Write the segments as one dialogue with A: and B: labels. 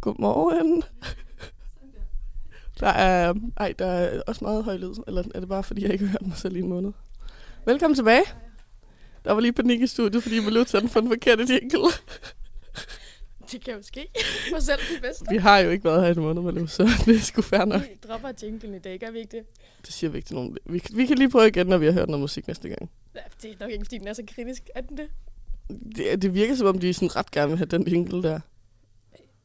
A: Godmorgen. Der er, ej, der er også meget høj lyd. Eller er det bare, fordi jeg ikke har hørt mig selv i en måned? Velkommen tilbage. Der var lige panik i studiet, fordi Valuta den for den forkerte jingle.
B: Det kan jo ske. Mig selv det bedste.
A: Vi har jo ikke været her i en måned, Valu, så det er sgu fair nok.
B: Vi dropper jinglen i dag, gør vi ikke det?
A: Det siger vi ikke til nogen. Vi, kan- vi kan lige prøve igen, når vi har hørt noget musik næste gang.
B: Ja, Det er nok ikke, fordi den er så kritisk. Er den det?
A: Det, det virker som om, de sådan ret gerne vil have den jingle der.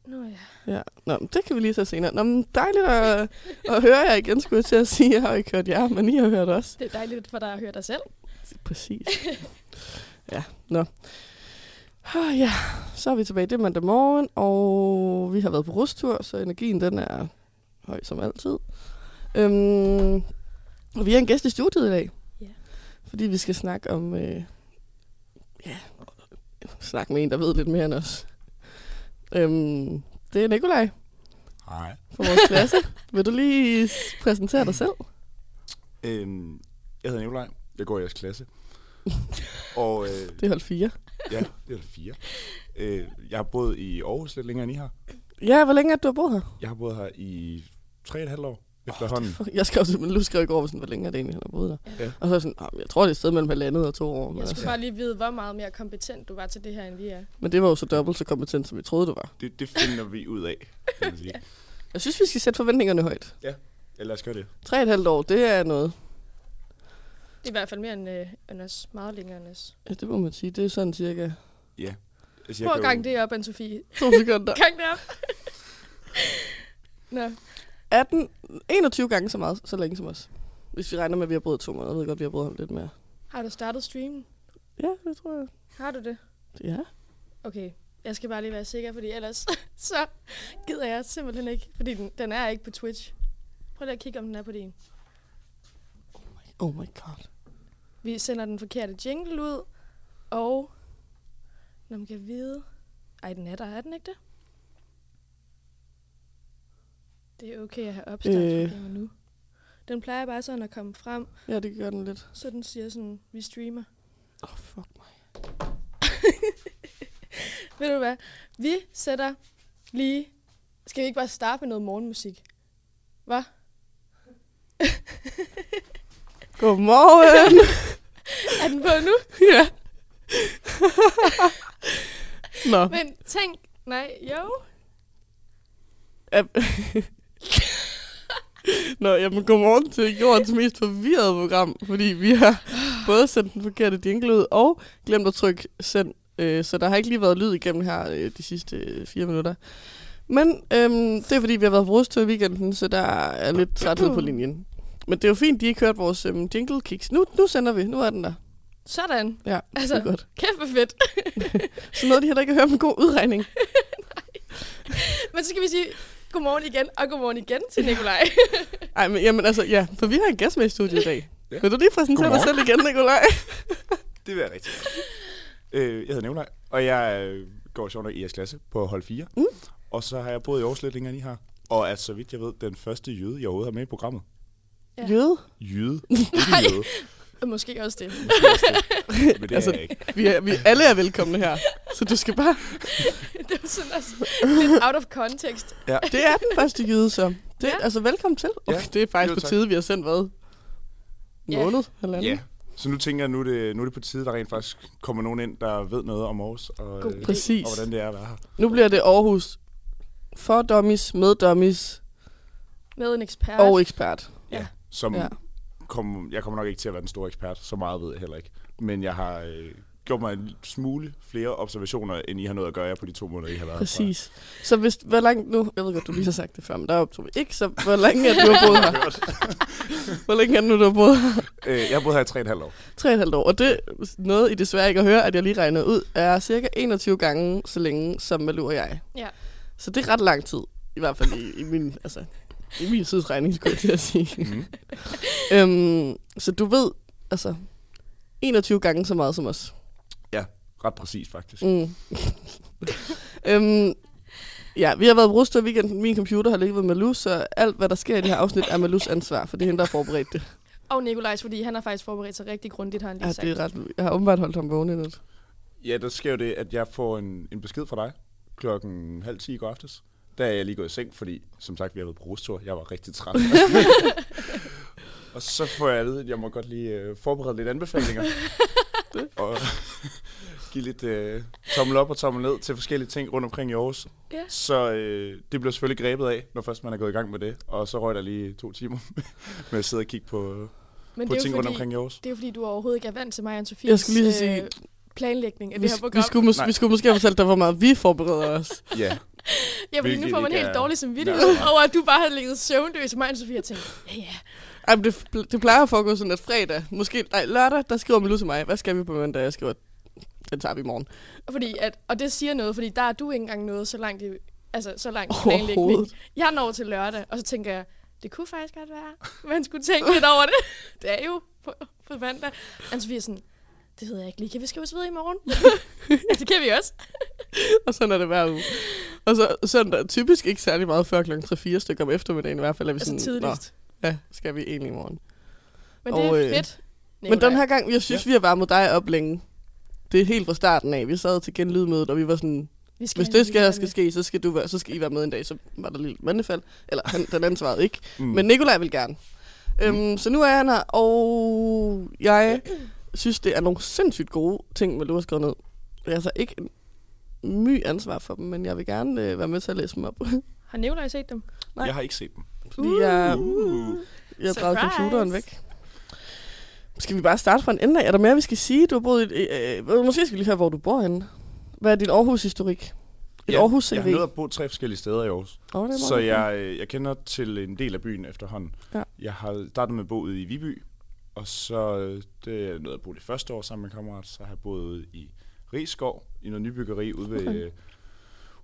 B: Nå ja.
A: Ja, Nå, men det kan vi lige så senere. Nå, men dejligt at, at høre jer igen, skulle jeg til at sige. Jeg har jo ikke hørt jer, men I har hørt os.
B: Det er dejligt for dig at høre dig selv.
A: Præcis. ja, nå. Oh, ja, så er vi tilbage. Det er mandag morgen, og vi har været på rustur, så energien den er høj som altid. Øhm, og vi har en gæst i studiet i dag.
B: Ja.
A: Fordi vi skal snakke om... Øh, ja, snakke med en, der ved lidt mere end os. Øhm, det er Nikolaj
C: Hej.
A: fra vores klasse. Vil du lige s- præsentere dig selv?
C: Øhm, jeg hedder Nikolaj. Jeg går i jeres klasse. og øh,
A: Det er hold 4.
C: ja, det er fire. Øh, jeg har boet i Aarhus lidt længere end I har.
A: Ja, hvor længe er det, du har boet her?
C: Jeg har boået her i tre og et halvt år efterhånden.
A: Fuck, Jeg skrev til min Lu skrev i går, sådan, hvor længe er det egentlig, han har boet der. Ja.
C: Ja.
A: Og så er jeg sådan, "Ah, men jeg tror, det er et sted mellem halvandet og to år. Men,
B: Jeg
A: altså,
B: skulle bare lige vide, hvor meget mere kompetent du var til det her, end vi er.
A: men det var jo så dobbelt så kompetent, som vi troede, du var.
C: Det, det finder vi ud af, kan man sige.
A: Jeg synes, vi skal sætte forventningerne højt.
C: Ja, lad os gøre det.
A: Tre og et halvt år, det er noget.
B: Det er i hvert fald mere end, øh, end os. Meget længere end os.
A: Ja, det må man sige. Det er sådan cirka
C: Ja. Altså,
B: Prøv at
C: kan jo-
B: gange det op, Anne-Sophie.
A: to sekunder.
B: Gang det op. Nå,
A: 18, 21 gange så meget, så længe som os. Hvis vi regner med, at vi har boet to måneder. Jeg ved godt, vi har boet ham lidt mere.
B: har du startet streamen?
A: Ja, det tror jeg.
B: Har du det?
A: Ja.
B: Okay, jeg skal bare lige være sikker, fordi ellers så gider jeg simpelthen ikke. Fordi den, den er ikke på Twitch. Prøv lige at kigge, om den er på din.
A: Oh my god.
B: Vi sender den forkerte jingle ud, og når man kan vide... Ej, den er der, er den ikke det? Det er okay at have opstartsproblemer øh. nu. Den plejer bare sådan at komme frem,
A: Ja, det gør den lidt.
B: så den siger sådan, vi streamer.
A: Åh, oh, fuck mig.
B: Ved du hvad? Vi sætter lige... Skal vi ikke bare starte med noget morgenmusik? Hvad?
A: Godmorgen.
B: Er den på nu?
A: ja. Nå.
B: Men tænk... Nej, jo.
A: Ab- Nå, jamen godmorgen til jordens mest forvirrede program, fordi vi har både sendt den forkerte jingle ud og glemt at trykke send, øh, så der har ikke lige været lyd igennem her øh, de sidste øh, fire minutter. Men øhm, det er fordi, vi har været på rustur i weekenden, så der er lidt træthed på linjen. Men det er jo fint, de ikke hørte vores øhm, jingle kicks. Nu, nu sender vi, nu er den der.
B: Sådan.
A: Ja, altså,
B: Altså.
A: det er godt.
B: Kæft hvor fedt.
A: Så noget, de heller ikke har hørt med god udregning.
B: Men så skal vi sige godmorgen igen, og godmorgen igen til Nikolaj.
A: Ej, men jamen, altså, ja, for vi har en gæst med i studiet i dag.
C: Ja.
A: Vil du lige præsentere dig
C: Godmorgen.
A: selv igen, Nicolaj?
C: Det vil jeg rigtig gerne. øh, jeg hedder Nikolaj, og jeg øh, går sjovt nok i jeres klasse på hold 4.
A: Mm.
C: Og så har jeg boet i Aarhus lidt længere end I har. Og er, så vidt jeg ved, den første jøde, jeg overhovedet har med i programmet.
B: Ja.
A: Jøde?
C: Jøde. Ikke jøde.
B: Og måske også det.
C: Men det
A: Altså,
C: er jeg ikke.
A: Vi, er, vi alle er velkomne her, så du skal bare...
B: Det var sådan også lidt out of context.
A: Det er den første jyde, så. Det, ja.
B: Ja.
A: Altså, velkommen til.
C: Ja.
A: Okay, det er faktisk
C: Jo,
A: på
C: tak.
A: tide, vi har sendt hvad? En
B: Ja.
A: måned? Eller
C: Ja, så nu tænker jeg, nu er, det, nu er det på tide, der rent faktisk kommer nogen ind, der ved noget om Aarhus, og,
B: God
C: øh,
B: idé.
A: Præcis.
C: og hvordan det er at være her.
A: Nu bliver det Aarhus for dummies, med dummies
B: Med en ekspert.
A: og ekspert.
C: Som
A: Ja.
C: ja. kom, jeg kommer nok ikke til at være den store ekspert, så meget ved jeg heller ikke. Men jeg har øh, gjort mig en smule flere observationer, end I har nået at gøre jer på de to måneder, I har været
A: Præcis. Så hvis, hvor langt nu... Jeg ved godt, du lige har sagt det før, men der optog vi ikke. Så hvor længe er det, du har boet her? Hvor længe er det nu, du har boet her?
C: herfra. Øh, jeg har boet her i tre og et halvt år.
A: Tre og et halvt år. Og det, noget I desværre ikke at høre, at jeg lige regnede ud, er cirka 21 gange så længe, som Malou og jeg
B: Ja.
A: Så det er ret lang tid, i hvert fald i, i min, altså, i min tidsregning, skulle jeg til at sige.
C: Mm.
A: øhm, så du ved, altså, 21 gange så meget som os.
C: Ret præcis, faktisk.
A: Mm. øhm, ja, vi har været på rustur i weekenden. Min computer har ligget med Malus, så alt, hvad der sker i det her afsnit, er Malus ansvar, for det er hende, der har forberedt det.
B: Og Nikolajs, fordi han har faktisk forberedt sig rigtig grundigt, har han lige
A: Ja,
B: sagt.
A: det er ret, jeg har åbenbart holdt ham vågen i nat.
C: Ja, der sker jo det, at jeg får en, en besked fra dig klokken halv ti i går aftes, Der er jeg lige gået i seng, fordi som sagt, vi har været på rustur. Jeg var rigtig træt. og så får jeg at vide, at jeg må godt lige øh, forberede lidt anbefalinger. og give lidt øh, tommel op og tommel ned til forskellige ting rundt omkring i Aarhus.
B: Ja.
C: Så øh, det bliver selvfølgelig grebet af, når først man er gået i gang med det. Og så røg der lige to timer med at sidde og kigge på,
B: Men
C: på
B: det er,
C: ting
B: jo
C: rundt
B: fordi,
C: omkring i Aarhus.
B: det er jo fordi, du overhovedet ikke er vant til mig og Anne-Sophies
A: Jeg skulle lige sige-
B: øh, planlægning af
A: Vi,
B: det her
A: vi,
B: program.
A: skulle mås-
C: Nej.
A: vi skulle måske have fortalt dig, hvor meget vi forbereder os.
C: Ja,
B: Ja, fordi nu
C: hvilket
B: får man
C: ikke
B: helt
C: er-
B: dårlig samvittighed over, at du bare har ligget søvnløs, og mig og Anne-Sophie har tænkt, ja, ja,
A: Ej, men det, det plejer at foregå sådan, at fredag, måske nej, lørdag, der skriver Malou til mig, hvad skal vi på mandag? Jeg skriver, den tager vi i morgen.
B: Fordi at, og det siger noget, fordi der er du ikke engang noget så langt, i, altså, så langt i planlægning.
A: Overhovedet.
B: Jeg når til lørdag, og så tænker jeg, det kunne faktisk godt være, man skulle tænke lidt over det. Det er jo på, på mandag. Anne-Sophie er sådan, det ved jeg ikke lige, kan vi skrive os ved i morgen? ja, det kan vi også.
A: Og sådan er det hver uge. Og så søndag, typisk ikke særlig meget før kl. 3-4 stykker om eftermiddagen i hvert fald. Er vi
B: Altså
A: sådan,
B: tidligst.
A: "Nå, ja, skal vi egentlig i morgen.
B: Men det er
A: Og, øh,
B: fedt.
A: Men den her gang, jeg synes, ja. vi har varmet dig op længe. Det er helt fra starten af. Vi sad til genlydmødet, og vi var sådan,
B: vi
A: hvis det skal, skal ske, så skal, du være, så skal I være med en dag. Så var der lidt mandefald. Eller han, den anden svarede ikke. Mm. Men Nikolaj vil gerne. Mm. Øhm, så nu er han her, og jeg synes, det er nogle sindssygt gode ting, Malou har skrevet ned. Jeg har så ikke en my ansvar for dem, men jeg vil gerne øh, være med til at læse dem op.
B: Har Nicolaj set dem?
A: Nej.
C: Mm. jeg har ikke set dem.
A: Fordi jeg,
C: Uh.
A: jeg har drejet
B: Surprise.
A: computeren væk. Skal vi bare starte fra en ende af? Er der mere, vi skal sige? Du har boet i, et- øh, øh, måske skal vi lige høre, hvor du bor henne. Hvad er din Aarhus-historik? Et Aarhus-CV?
C: Jeg har nået at bo tre forskellige steder i Aarhus.
A: Åh, det er meget
C: Så
A: godt.
C: jeg, øh, jeg kender til en del af byen efterhånden.
A: Ja.
C: Jeg har startet med at bo ude i Viby, og så øh, det er noget, jeg boede det første år sammen med en kammerat. Så har jeg boet ude i Rigskov, i noget nybyggeri ude ved, okay.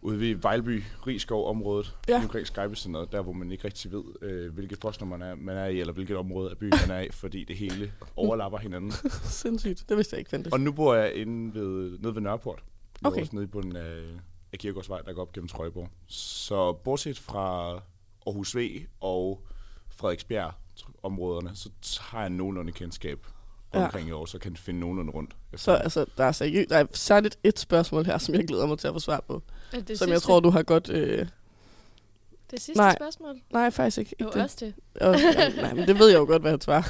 C: ude ved Vejlby, Rigskov-området,
A: Ja.
C: ja. omkring Skypecenteret, der hvor man ikke rigtig ved, øh, hvilket postnummer man er, man er i, eller hvilket område af byen man er i, fordi det hele overlapper hinanden.
A: Sindssygt. Det vidste jeg ikke fandtes.
C: Og nu bor jeg inde ved, nede ved Nørreport. Jeg
A: Okay.
C: okay. også nede i bunden af, af Kirkegårdsvej, der går op gennem Trøjborg. Så bortset fra Aarhus V og Frederiksbjerg tr- områderne, så har jeg nogenlunde kendskab
A: Ja.
C: ja. omkring i år, så kan jeg finde nogenlunde rundt.
A: Så altså, der er, seriøst, der er særligt et spørgsmål her, som jeg glæder mig til at få svar på.
B: Er det
A: Det som
B: sidste,
A: jeg tror, du har godt... Øh...
B: Det sidste
A: Nej.
B: spørgsmål?
A: Nej, faktisk ikke.
B: Jo,
A: ikke det.
B: også det.
A: Og, ja, nej, men det ved jeg jo godt, hvad han svarer.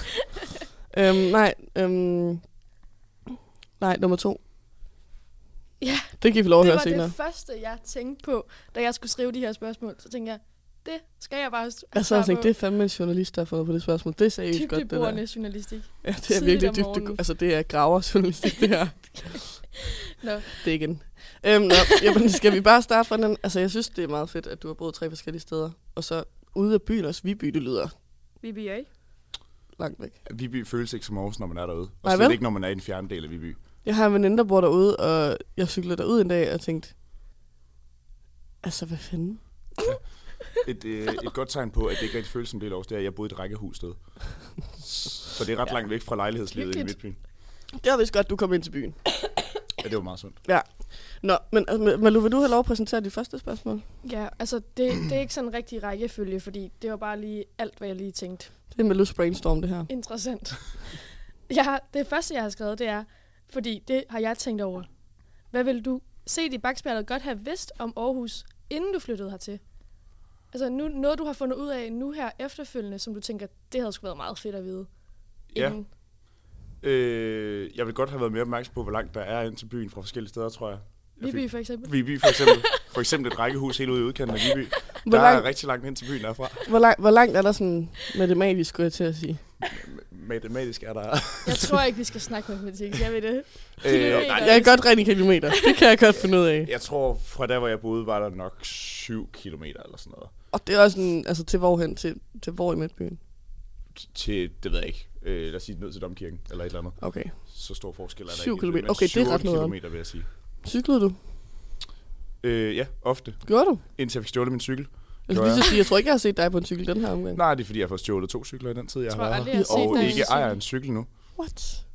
A: øhm, nej, øhm... nej, nummer to.
B: Ja,
A: Det kan vi lov at
B: det
A: høre
B: var
A: senere.
B: det første, jeg tænkte på, da jeg skulle skrive de her spørgsmål. Så tænkte jeg, det skal jeg bare s-
A: Altså, Jeg sad
B: svare
A: og tænkte,
B: på.
A: det er fandme en journalist, der har fundet på det spørgsmål. Det er seriøst godt, det der.
B: Dybdeborende journalistik.
A: Ja, det er
B: Tidligt
A: virkelig
B: om
A: dybt.
B: morgenen.
A: Det, altså, det er graverjournalistik, det her.
B: Nå.
A: Det er igen. Øhm, nå, jamen, skal vi bare starte fra den? Altså, jeg synes, det er meget fedt, at du har boet tre forskellige steder. Og så ude af byen også, Viby, det lyder
B: VBA.
A: langt væk.
C: Viby føles ikke som Aarhus, når man er derude. Og
A: Nej,
C: slet
A: vel?
C: ikke, når man er i en fjern del af Viby.
A: Jeg har en veninde, der bor derude, og jeg cyklede derud en dag og tænkte, altså, hvad fanden?
C: Et, øh, et godt tegn på, at det ikke rigtig føles som en del af Aarhus, det er, at jeg boede i et rækkehus sted. Så det er ret langt væk fra lejlighedslivet i
B: Hyggeligt.
C: Midtbyen.
A: Det var vist godt, du kom ind til byen.
C: Ja, det var meget sundt.
A: Ja. Nå, men altså, Malu, vil du have lov at præsentere dit første spørgsmål?
B: Ja, altså det, det er ikke sådan en rigtig rækkefølge, fordi det var bare lige alt, hvad jeg lige tænkte.
A: Det er Malus brainstorm, det her.
B: Interessant. Jeg har, det første, jeg har skrevet, det er, fordi det har jeg tænkt over. Hvad vil du se i bagspejlet godt have vidst om Aarhus, inden du flyttede hertil? Altså nu, noget, du har fundet ud af nu her efterfølgende, som du tænker, det havde sgu været meget fedt at vide.
C: Ja.
B: Inden.
C: Øh, jeg vil godt have været mere opmærksom på, hvor langt der er ind til byen fra forskellige steder, tror jeg. jeg
B: Viby for eksempel.
C: Viby for eksempel. For eksempel et rækkehus helt ude i udkanten af Viby.
A: Hvor
C: Der er
A: langt,
C: rigtig langt ind til byen derfra.
A: hvor, langt, hvor langt er der sådan matematisk, skulle jeg til at sige?
C: Matematisk er der...
B: Jeg tror ikke, vi skal snakke matematik. Jeg ved det.
C: øh, nej,
A: Jeg er godt rent i kilometer. Det kan jeg godt finde ud af.
C: jeg tror, fra der, hvor jeg boede, var der nok 7 km eller sådan noget.
A: Og det er også sådan, altså til hvorhen? Til, til hvor i Midtbyen?
C: T- Til, det ved jeg ikke. Øh, lad os sige, ned til Domkirken eller et eller andet.
A: Okay.
C: Så stor forskel er der
A: Syv
C: ikke.
A: kilometer.
C: Men
A: Okay, det er ret
C: 7-8
A: noget om.
C: kilometer, vil jeg sige.
A: Cyklede du?
C: Øh, ja, ofte.
A: Gjorde du?
C: Indtil jeg fik stjålet min cykel.
A: Jeg skulle
C: Gjorde
A: lige så sige, jeg tror ikke, jeg har set dig på en cykel den her omgang.
C: Nej, det er fordi, jeg har fået stjålet to cykler i den tid, jeg,
B: Tror
C: har været
B: aldrig,
C: her.
A: jeg har set
C: Og
A: dig i en
C: ikke
B: cykel.
C: ejer en cykel nu.
A: What?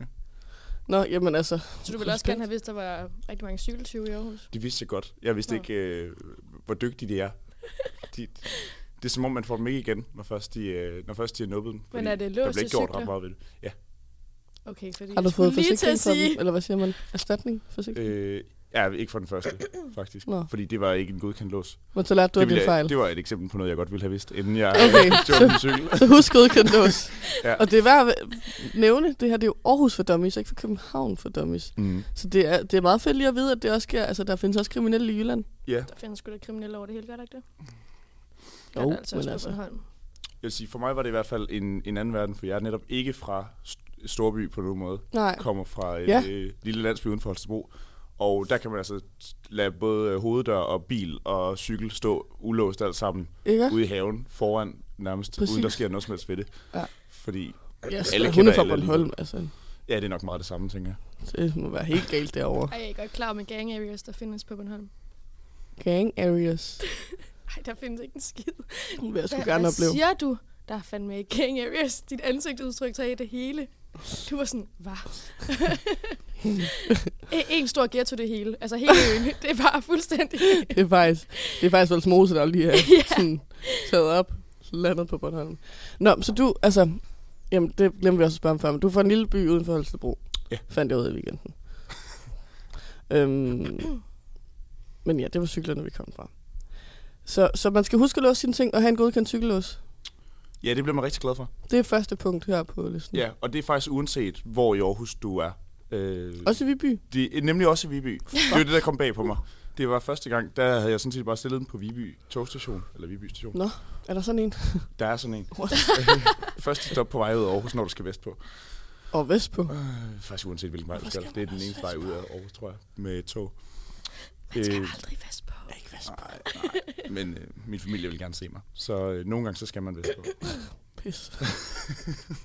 A: Nå, jamen altså.
B: Så du ville også gerne have vidst, at der var rigtig mange cykeltyve i Aarhus.
C: Det vidste jeg godt. Jeg vidste
B: Nå.
C: ikke, øh, hvor dygtige de er. De, det er som om, man får dem ikke igen, når først de, øh, når først de har nubbet dem. fordi
B: er det
C: Der
B: låste
C: bliver ikke gjort
B: cykler?
C: ret meget ved det. Ja.
B: Okay, fordi
A: Har du
B: jeg skulle
A: fået
B: lige til at
A: forsikring for
B: sige,
A: dem? Eller hvad siger man? Erstatning? Forsikring?
C: Øh, Ja, ikke for den første, faktisk.
A: Nå.
C: Fordi det var ikke en godkendt lås.
A: Men så lærte du af
C: det,
A: din
C: ville jeg-
A: fejl.
C: det var et eksempel på noget, jeg godt ville have vidst, inden jeg
A: Okay,
C: tog min cykel.
A: Så Altså, husk godkendt lås.
C: Ja.
A: ja. Og det er værd at nævne, det her det er jo Aarhus for dummies, ikke for København for dummies.
C: Mm.
A: Så det er, det er meget fedt lige at vide, at det også sker. Altså, der findes også kriminelle i Jylland.
C: Ja,
B: Der findes sgu da kriminelle over det hele, gør der ikke det?
A: Jo,
B: Ja, der er altså
A: men
B: også på
A: altså-
B: Bornholm.
C: jeg vil sige, for mig var det i hvert fald en, en anden verden, for jeg er netop ikke fra st- Storby på nogen måde.
A: Nej.
C: kommer fra et
A: Ja.
C: ja. øh, lille landsby uden for Holstebro. Og der kan man altså t- lade både øh, hoveddør og bil og cykel stå ulåst alt sammen
A: Ikke?
C: ude i haven foran nærmest, Præcis. uden der
A: Præcis.
C: sker noget som helst ved det.
A: Ja.
C: Fordi,
A: Yes,
C: Alle
A: alle hun
C: kender
A: er fra
C: alle alligevel.
A: Bornholm, altså.
C: ja, det er nok meget det samme, tænker jeg.
A: Det må være helt galt derovre.
B: Ej, jeg er godt klar med gang areas, der findes på Bornholm.
A: Gang areas.
B: Ej, der findes ikke en skid.
A: Hun vil jeg sgu
B: Hvad-
A: gerne
B: hvad
A: opleve.
B: siger du? Der er fandme ikke gang areas. Dit ansigtsudtryk tager i det hele. Du var sådan, hvad? E- en stor ghetto det hele. Altså hele øen. Det er bare fuldstændig.
A: Det er faktisk, det er faktisk Volsmose, der lige er
B: Ja.
A: sådan, taget op, landet på Bornholm. Nå, så du, altså, jamen det glemte vi også at spørge om før, men du er fra en lille by uden for Holstebro.
C: Ja.
A: Fandt jeg ud af i weekenden. øhm, men ja, det var cyklerne, vi kom fra. Så, så man skal huske at låse sine ting og have en godkendt cykellås.
C: Ja, det bliver man rigtig glad for.
A: Det er første punkt her på listen.
C: Ja, og det er faktisk uanset, hvor i Aarhus du er. Øh,
A: Også i Viby.
C: det, nemlig også i Viby. Det var det, der kom bag på mig. Det var første gang, der havde jeg sådan set bare stillet den på Viby togstation, eller Viby station.
A: Nå, er der sådan en?
C: Der er sådan en. Første stop på vej ud af Aarhus, når du skal vestpå.
A: Og Vestpå.
C: Øh, Faktisk uanset hvilken vej du skal.
A: skal
C: Det er
A: man
C: den
A: også
C: eneste vej ud af Aarhus, tror jeg, med tog.
B: Man skal
C: Øh,
B: aldrig fast på.
A: Ikke Vestpå.
C: nej, nej, men øh, min familie vil gerne se mig. Så øh, nogle gange, så skal man vestpå.
A: Pis.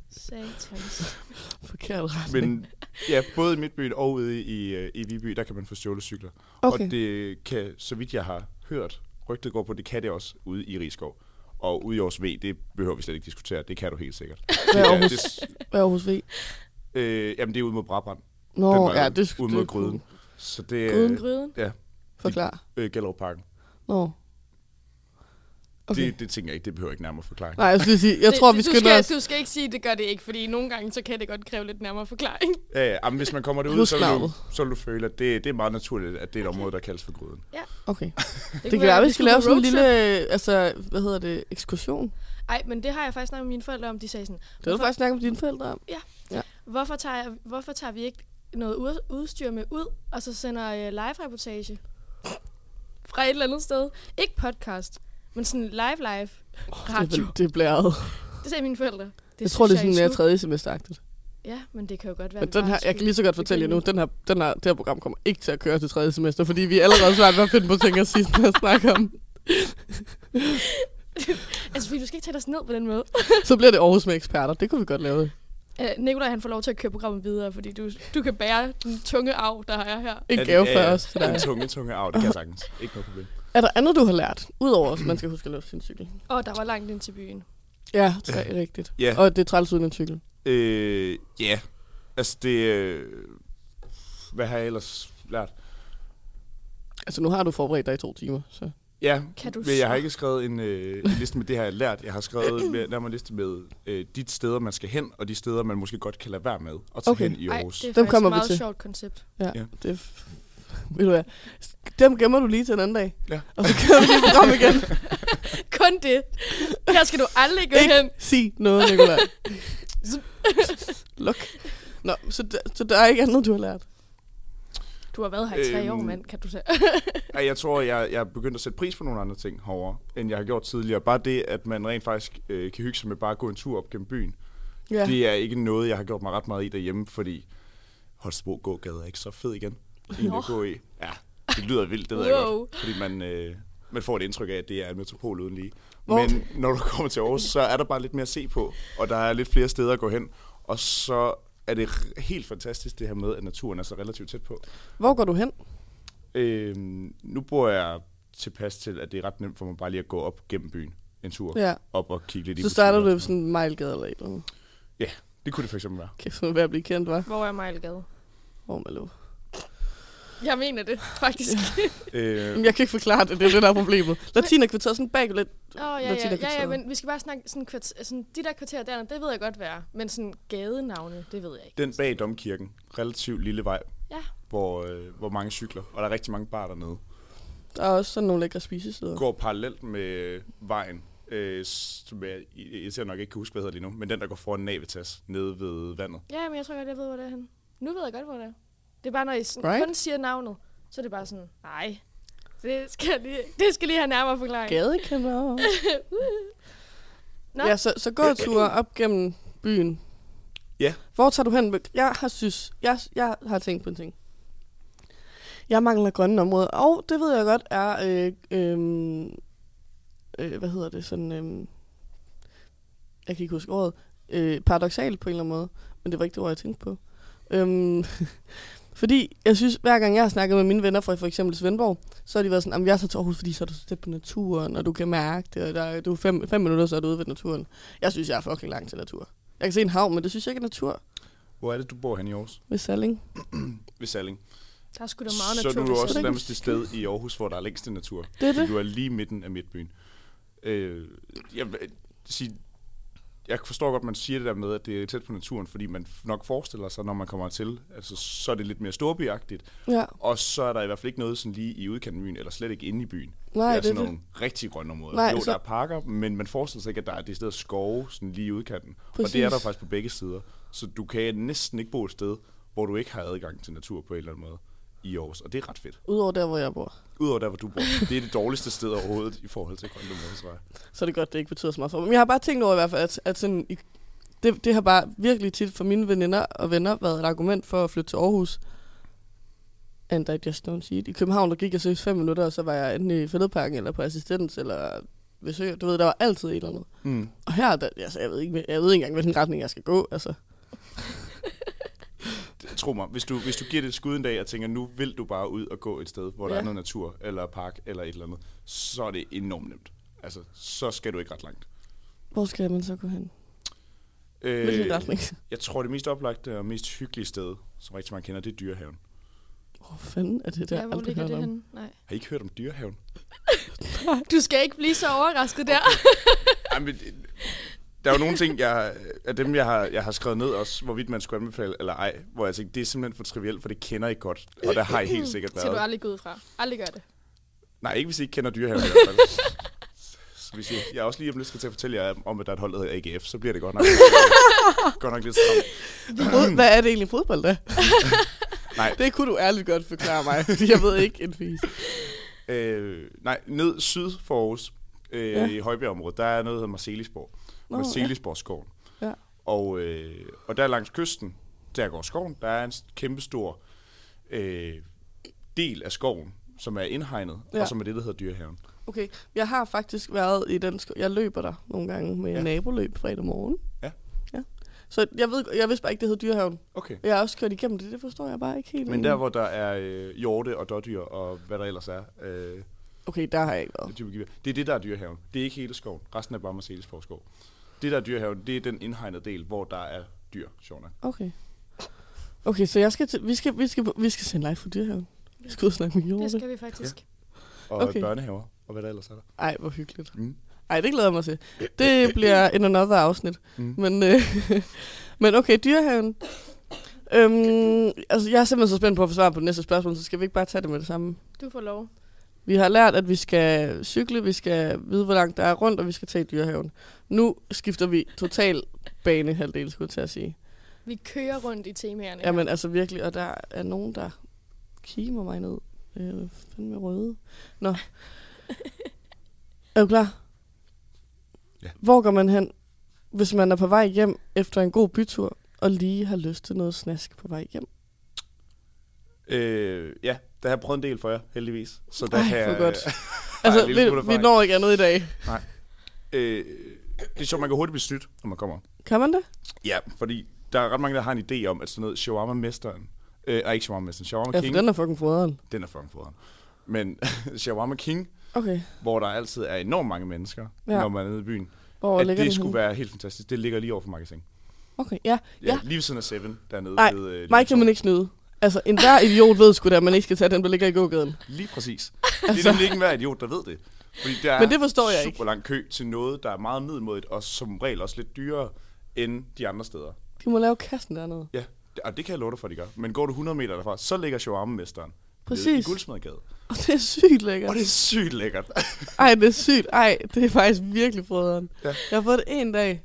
B: Satans.
A: Forkert retning.
C: Men ja, både i Midtbyen og ude i, øh, i Viby, der kan man få stjålet cykler.
A: Okay.
C: Og det kan, så vidt jeg har hørt, rygtet går på, det kan det også ude i Rigskov. Og ude i Aarhus V, det behøver vi slet ikke diskutere. Det kan du helt sikkert.
A: Hvad er
C: Det er-
A: Aarhus,
C: det,
A: hvad er Aarhus V?
C: øh, jamen, det er ude mod Brabrand.
A: Nå,
C: den vej
A: ja,
C: ud,
A: det skulle
C: ud mod gryden. Så det er
A: Gryden?
C: øh,
B: Gryden.
A: Forklar.
C: Gellerup Parken.
A: Nå. Okay.
C: Okay. Det, det tænker jeg ikke, det behøver jeg ikke nærmere forklare.
A: Nej, jeg skulle lige sige, jeg
B: Det-
A: tror, vi
B: du skal,
A: skynder os.
B: Du skal ikke sige, at det gør det ikke, fordi nogle gange, så kan det godt kræve lidt nærmere forklaring.
C: Ja, ja, men hvis man kommer derud, så vil, du,
A: Husnavnet.
C: så vil du føle, at det, det er meget naturligt, at det er et område, der kaldes for gryden.
A: Okay. Det
B: kunne
A: kan være,
B: at
A: vi skal lave
B: på
A: sådan en
B: roadtrip.
A: lille, altså, hvad hedder det, ekskursion.
B: Ej, men det har jeg faktisk snakket med mine forældre om. De sagde sådan,
A: Det har du faktisk snakket med dine forældre om.
B: hvorfor tager, jeg, hvorfor tager vi ikke noget ud- udstyr med ud, og så sender øh, live-reportage fra et eller andet sted? Ikke podcast, men sådan live-live
A: Det,
B: radio.
A: er- det er blæret.
B: Det sagde mine forældre. Det
A: Jeg tror, det er
B: synes
A: sådan mere
B: slut.
A: tredje semesteragtigt.
B: Ja, men det kan jo godt være,
A: Men
B: det
A: den
B: bare
A: her, jeg kan lige så godt fortælle jer nu,
B: begynde.
A: den her, den her, det her program kommer ikke til at køre til tredje semester, fordi vi er allerede svært ved at finde på ting at sige, sådan at snakke om.
B: Altså, fordi du skal ikke tage dig ned på den måde.
A: Så bliver det Aarhus med eksperter. Det kunne vi godt lave.
B: Uh, Nikolaj, han får lov til at køre programmet videre, fordi du, du kan bære den tunge arv, der er her.
A: En gave for os til dig.
C: Den tunge, tunge arv, det kan jeg sagtens. Ikke noget problem.
A: Er der andet, du har lært? Udover, at man skal huske at låse sin cykel.
B: Og der var langt ind til byen.
A: Ja, tre rigtigt.
C: Ja.
A: Og det er træls uden en cykel.
C: Øh, ja, yeah. altså det... Øh, hvad har jeg ellers lært?
A: Altså, nu har du forberedt dig i to timer, så...
C: Ja,
B: Kan du
C: men jeg har
B: så?
C: ikke skrevet en, øh, en liste med det, jeg har lært. Jeg har skrevet med, nærmere en liste med øh, de steder, man skal hen, og de steder, man måske godt kan lade være med at tage
A: Okay.
C: hen i
B: Ej,
C: Aarhus.
B: det
A: Dem
B: er faktisk
A: kommer
B: et
A: vi
B: meget
A: til.
B: sjovt koncept.
A: Ja,
C: Ja.
A: ja. det er f- ved du hvad. Dem gemmer du lige til en anden dag.
C: Ja.
A: Og så kører vi lige program igen.
B: Kun det. Her skal du aldrig gå hen.
A: Ikke sig noget, Nicolaj. Luk. Nå, så der, så der er ikke andet, du har lært.
B: Du har været her i tre
C: Øhm.
B: år, mand, kan du sige.
C: Ej, jeg tror, jeg, jeg er begyndt at sætte pris på nogle andre ting herovre, end jeg har gjort tidligere. Bare det, at man rent faktisk øh, kan hygge sig med bare at gå en tur op gennem byen.
A: Ja.
C: Det er ikke noget, jeg har gjort mig ret meget i derhjemme, fordi Holstebro gågade er ikke så fed igen. Egentlig at gå i. Ja, det lyder vildt, det ved jeg
B: Wow.
C: godt. Fordi man, øh, man får et indtryk af, at det er en metropol uden lige.
A: Hvor-
C: Men når du kommer til Aarhus, så er der bare lidt mere at se på, og der er lidt flere steder at gå hen. Og så er det r- helt fantastisk det her med, at naturen er så relativt tæt på.
A: Hvor går du hen?
C: Øh, nu bor jeg tilpas til, at det er ret nemt for mig bare lige at gå op gennem byen en tur.
A: Ja.
C: Op og kigge lidt i
A: Så starter
C: butikker
A: du
C: og
A: ved sådan en mejlgade eller et eller andet.
C: noget. Ja, det kunne det for eksempel være.
A: Kæft, hun er ved at blive kendt, var.
B: Hvor er Mejlgade?
A: Hvor man lå.
B: Jeg mener det, faktisk.
C: Øh,
A: Jamen, jeg kan ikke forklare det, det er det, der er problemet. Latina kvarteret sådan bag lidt.
B: Åh, oh, ja, ja, ja, ja,
A: Latinakvarteret.
B: men vi skal bare snakke sådan, kvarter, sådan de der kvarterer der, det ved jeg godt være. Men sådan gadenavne, det ved jeg ikke.
C: den bag domkirken, relativt lille vej,
B: Ja,
C: hvor, øh, hvor mange cykler, og der er rigtig mange bar dernede.
A: Der er også sådan nogle lækre spisesteder.
C: Går parallelt med øh, vejen, øh, som jeg især nok ikke kan huske, hvad hedder lige nu, men den, der går foran Navitas, nede ved vandet.
B: Ja, men jeg tror godt, jeg ved, hvor det er henne. Nu ved jeg godt, hvor det er. Det er bare, når I sådan,
A: Right?
B: right? kun siger navnet, så er det bare sådan, nej, det skal jeg lige, det skal lige have nærmere forklaring.
A: Gadekanaler.
B: Nå.
A: Ja, så, så gåture op gennem byen.
C: Ja.
A: Hvor tager du hen? Jeg har synes, jeg, jeg har tænkt på en ting. Jeg mangler grønne områder, og det ved jeg godt er, øh, øh, øh, hvad hedder det, sådan, øh, jeg kan ikke huske ordet, øh, paradoxalt på en eller anden måde, men det var ikke det ord, jeg tænkte på. Øhm, fordi jeg synes, hver gang jeg har snakket med mine venner fra for eksempel Svendborg, så har de været sådan, at jeg er så til Aarhus, fordi så er du så tæt på naturen, og du kan mærke det, og der, er- du er fem, fem minutter, så er du ude ved naturen. Jeg synes, jeg er fucking langt til natur. Jeg kan se en havn, men det synes jeg ikke er natur
C: Hvor er det, du bor hen i Aarhus?
A: ved Salling.
C: Ved Salling.
B: Der er sgu da meget
C: så
B: natur.
C: er du
B: på
C: også
B: Sjælland.
C: nærmest det sted i Aarhus, hvor der er længst til natur.
A: Det er
C: Fordi
A: det.
C: du er lige midten af midtbyen. Øh, jeg, vil sige, jeg forstår godt, man siger det der med, at det er tæt på naturen, fordi man f- nok forestiller sig, når man kommer til, altså, så er det lidt mere storbyagtigt,
A: Ja,
C: og så er der i hvert fald ikke noget sådan lige i udkanten af byen, eller slet ikke inde i byen.
A: Nej,
C: det er
A: det
C: sådan
A: er det.
C: nogle rigtig grønne områder.
A: Nej,
C: jo,
A: så-
C: der er parker, men man forestiller sig ikke, at der er det sted skove sådan lige i udkanten. Og det er
A: Præcis.
C: der faktisk på begge sider. Så du kan næsten ikke bo et sted, hvor du ikke har adgang til natur på en eller anden måde i Aarhus, og det er ret fedt.
A: udover der, hvor jeg bor.
C: Udover der, hvor du bor. Det er det dårligste sted overhovedet i forhold til Grønland Motorvej.
A: Så er det godt, det ikke betyder så meget for mig. Men jeg har bare tænkt over i hvert fald, at, at sådan, i- det, det har bare virkelig tit for mine veninder og venner været et argument for at flytte til Aarhus. And I just don't see it. I København, der gik jeg seriøst fem minutter, og så var jeg enten i Fælledparken, eller på assistens, eller ved Sø. Du ved, der var altid et eller andet.
C: Mm.
A: Og her, der, altså, jeg, ved ikke, jeg ved ikke engang, hvilken retning jeg skal gå. Altså.
C: Tro mig, hvis du, hvis du giver det et skud en dag og tænker, nu vil du bare ud og gå et sted, hvor ja. der
A: Ja.
C: er noget natur, eller park, eller et eller andet, så er det enormt nemt. Altså, så skal du ikke ret langt.
A: Hvor skal man så gå hen?
C: Øh,
A: Hvilken retning?
C: Jeg tror, det mest oplagte og mest hyggelige sted, som rigtig mange kender, det er Dyrehaven.
A: Hvor fanden er det der?
B: Ja, hvor
A: aldrig
B: ligger
A: hørt
B: det
A: om?
B: henne? Nej.
C: Har I ikke hørt om Dyrehaven?
B: Du skal ikke blive så overrasket der.
C: Ej, men, øh, der er jo nogle ting, jeg, af dem, jeg har, jeg har skrevet ned også, hvorvidt man skulle anbefale eller ej, hvor jeg tænkte, det er simpelthen for trivielt, for det kender I godt, og der har I helt sikkert
B: Det skal
C: været.
B: du aldrig gå ud fra. Aldrig gøre det.
C: Nej, ikke hvis I ikke kender dyrehaven i hvert fald. Så hvis I, jeg er også lige om lidt skal til at fortælle jer om, at der er et hold, der hedder AGF, så bliver det godt nok, godt nok lidt stramt.
A: Fod- Hvad er det egentlig fodbold, der?
C: Nej.
A: Det kunne du ærligt godt forklare mig, fordi jeg ved ikke en fis.
C: Øh, nej, ned syd for Aarhus, øh,
A: Ja.
C: ja. i Højbjergområdet, der er noget, der hedder Marcelisborg.
A: Nå,
C: Nå, Marcelisborgskoven.
A: ja. Ja.
C: Og, øh, og der langs kysten, der går skoven, der er en s- kæmpestor øh, del af skoven, som er indhegnet, ja.
A: Ja.
C: og som er det, der hedder dyrehaven.
A: Okay, jeg har faktisk været i den sko- Jeg løber der nogle gange med
C: Ja.
A: ja. naboløb fredag morgen.
C: Ja.
A: ja. Så jeg, ved, jeg vidste bare ikke, det hed Dyrehaven.
C: Okay.
A: Jeg har også kørt igennem det, det forstår jeg bare ikke helt.
C: Men der, hvor der er øh, hjorte og dårdyr og hvad der ellers er, øh,
A: Okay, der har jeg ikke været.
C: Den type gevær. Det er det, der er dyrehaven. Det er ikke hele skoven. Resten er bare Marcelisborg skov. Det, der er dyrehaven, det er den indhegnede del, hvor der er dyr, sjovt nok.
A: Okay. Okay, så jeg skal til, vi, skal, vi, skal, vi skal sende live for Dyrehaven. Jeg skal ud og snakke med
B: Det
A: Jorte.
B: skal vi faktisk.
C: Og
A: Okay.
C: okay. børnehaver, og hvad der ellers er der.
A: Ej, hvor hyggeligt.
C: Mm.
A: Ej, det glæder jeg mig til. Det bliver en another afsnit.
C: Mm.
A: Mm. Men, øh, men okay, dyrehaven. Øhm, altså, jeg er simpelthen så spændt på at få svar på det næste spørgsmål, så skal vi ikke bare tage det med det samme.
B: Du får lov.
A: Vi har lært, at vi skal cykle, vi skal vide, hvor langt der er rundt, og vi skal tage i dyrehaven. Nu skifter vi total banehalvdel, skulle jeg til at sige.
B: Vi kører rundt i temaerne.
A: Ja. Jamen altså virkelig, og der er nogen, der kimer mig ned. Øh, fandme røde. Nå. er du klar?
C: Ja.
A: Hvor går man hen, hvis man er på vej hjem efter en god bytur, og lige har lyst til noget snask på vej hjem?
C: Øh, ja, der har jeg prøvet en del for jer, heldigvis. Så der
A: Ej,
C: kan
A: hvor
C: jeg-
A: godt.
C: Der er
A: Altså,
C: en lille smule
A: vi, vi
C: erfaring.
A: når ikke andet i dag.
C: Øh, det er sjovt, man kan hurtigt blive snydt, når man kommer.
A: Kan man det?
C: Ja, fordi der er ret mange, der har en idé om, at sådan noget shawarma-mesteren, øh, nej, ikke shawarma-mesteren, shawarma
A: Ja,
C: king,
A: for Altså, den er fucking foderen.
C: den er fucking foderen. Men shawarma king,
A: Okay,
C: hvor der altid er enormt mange mennesker, ja.
A: Ja.
C: når man er nede i byen,
A: hvor
C: at
A: ligger
C: det
A: den
C: skulle
A: henne?
C: være helt fantastisk. Det ligger lige over for magasin.
A: Okay, ja.
C: Ja, ja.
A: Ja.
C: lige ved siden af Seven dernede.
A: Nej,
C: ved, øh,
A: Mig kan man ikke snyde. Altså, enhver idiot ved sgu da, at man ikke skal tage den, der ligger i gågaden.
C: Lige præcis. Det er nemlig ikke enhver idiot, der ved det. Fordi der
A: Altså- Men det forstår jeg
C: super
A: ikke.
C: lang kø til noget, der er meget middelmådigt, og som regel også lidt dyrere end de andre steder.
A: De må lave kassen dernede.
C: Ja, Og det kan jeg love dig for, at de gør. Men går du 100 meter derfra, så ligger shawarma-mesteren. Nede i
A: Præcis.
C: Guldsmedgade.
A: Og det er sygt lækkert.
C: Og det er sygt lækkert.
A: Ej, det er sygt. Ej, det er faktisk virkelig foderen.
C: Ja.
A: Ja. Jeg har fået det en dag,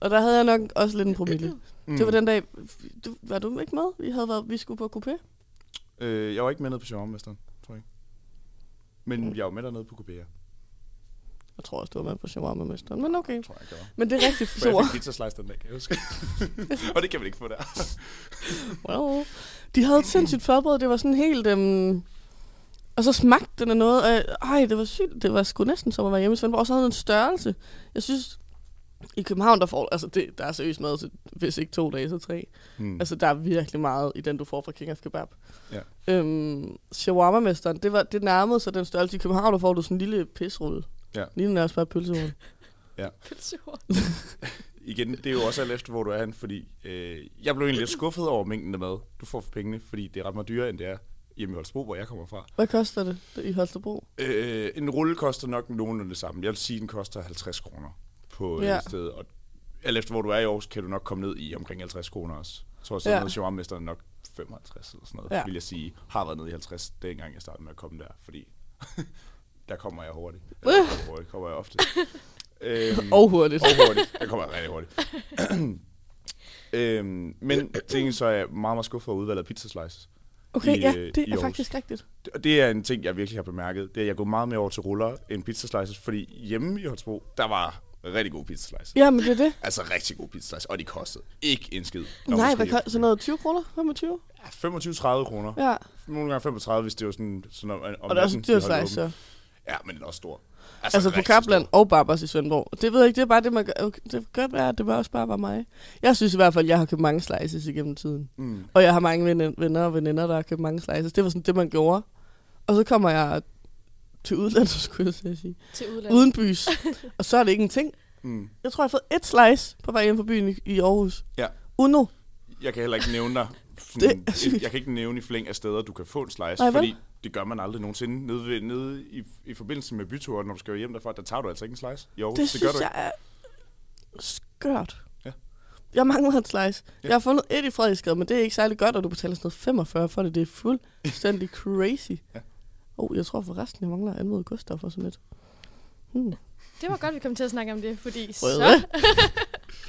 A: og der havde jeg nok også lidt en promille. Mm. Det var den dag, du, var du ikke med? Vi havde været, vi skulle på coupé.
C: Øh, jeg var ikke med nede på shawarma-mesteren, tror jeg. Men jeg var med dernede på Kubea,
A: Jeg tror også, du var med på shawarma-mesteren, men okay.
C: tror jeg, jeg gjorde.
A: Men det er rigtig
C: For jeg
A: sjovt.
C: fik pizza slice den dag, kan jeg huske. og det kan man ikke få der.
A: Well. De havde et sindssygt forbered, det var sådan helt... Øhm, og så smagte den af noget, og jeg, ej, det var sygt. Det var sgu næsten som at være hjemme i Svendborg. Og så havde den en størrelse. Jeg synes, i København, der får, altså det, der er seriøst mad, til, hvis ikke to dage, så tre.
C: Hmm.
A: Altså, der er virkelig meget i den, du får fra King of Kebab.
C: Ja.
A: Øhm, Shawarma-mesteren, det, var, det nærmede sig den størrelse i København, der får du sådan en lille pisrulle.
C: Ja.
A: Lige nærmest bare pølserulle.
B: Pølsehorn.
C: Igen, det er jo også alt efter, hvor du er hen, fordi øh, jeg blev egentlig lidt skuffet over mængden af mad, du får for pengene, fordi det er ret meget dyrere, end det er hjemme i Holstebro, hvor jeg kommer fra.
A: Hvad koster det det i Holstebro?
C: Øh, en rulle koster nok nogenlunde det samme. Jeg vil sige, den koster 50 kroner på ja.
A: Ja.
C: et sted. Og alt efter, hvor du er i Aarhus, kan du nok komme ned i omkring 50 kroner også. Jeg tror, sådan
A: Ja.
C: ja. noget shawarmesteren nok 55 eller sådan noget, ja.
A: Ja.
C: vil jeg sige. Har været nede i 50, dengang jeg startede med at komme der, fordi der kommer jeg hurtigt. Eller,
A: Øh.
C: kommer hurtigt, kommer jeg ofte. øhm,
A: Og hurtigt.
C: og hurtigt. Jeg kommer rigtig hurtigt. øhm, men tingen så er jeg meget, meget skuffet over udvalget af pizza slices.
A: Okay,
C: i,
A: ja,
C: øh, i
A: det er
C: Aarhus.
A: faktisk rigtigt.
C: Og det er en ting, jeg virkelig har bemærket. Det er, at jeg går meget mere over til ruller end pizza slices, fordi hjemme i Holstebro, der var rigtig gode pizza slices.
A: Ja, men det er det.
C: Altså rigtig gode pizza slices, og de kostede ikke en skid. Der var
A: Nej,
C: måske
A: hvad koster sådan noget 20 kroner? 25?
C: ja, 25-30 kroner. Ja.
A: Ja.
C: Nogle gange 35, hvis det var sådan, sådan om, om
A: Og der er også
C: natten, de
A: dyrt
C: holdt
A: slice,
C: åbent.
A: så.
C: Ja, men den er også stor.
A: Altså på
C: rigtig stor.
A: Kaplan og Barbers i Svendborg. Det ved jeg ikke, det er bare det, man gør. Okay, det kan godt være, at det var også bare var mig. Jeg synes i hvert fald, at jeg har købt mange slices igennem tiden.
C: Mm.
A: Og jeg har mange venner- venner og veninder, der har købt mange slices. Det var sådan det, man gjorde. Og så kommer jeg til udlandet, skulle jeg til at sige.
B: Til udlandet.
A: Uden bys. og så er det ikke en ting.
C: Mm.
A: Jeg tror, jeg har fået et slice på vej hjem fra byen i, i Aarhus.
C: Ja.
A: Uno.
C: Jeg kan heller ikke nævne dig.
A: Det er
C: Sådan,
A: sygt.
C: jeg kan ikke nævne i flæng af steder, du kan få en slice,
A: Nej,
C: Nej,
A: vel?
C: fordi det gør man aldrig nogensinde. Nede, ved, nede i, i forbindelse med byture, når du skal hjem derfra, der tager du altså ikke en slice. Jo, det,
A: Det, det
C: det gør
A: synes
C: du
A: jeg er skørt.
C: Ja.
A: Jeg mangler en slice.
C: Ja.
A: Ja. Jeg har fundet et i Frederiksgade, men det er ikke særlig godt, og du betaler sådan noget 45 for det. Det er fuldstændig crazy.
C: Ja.
A: Oh, jeg tror forresten, jeg mangler at anmode Gustaf og sådan lidt. Hmm.
B: Det var godt, vi kom til at snakke om det, fordi
A: Prøv
B: så...
A: at-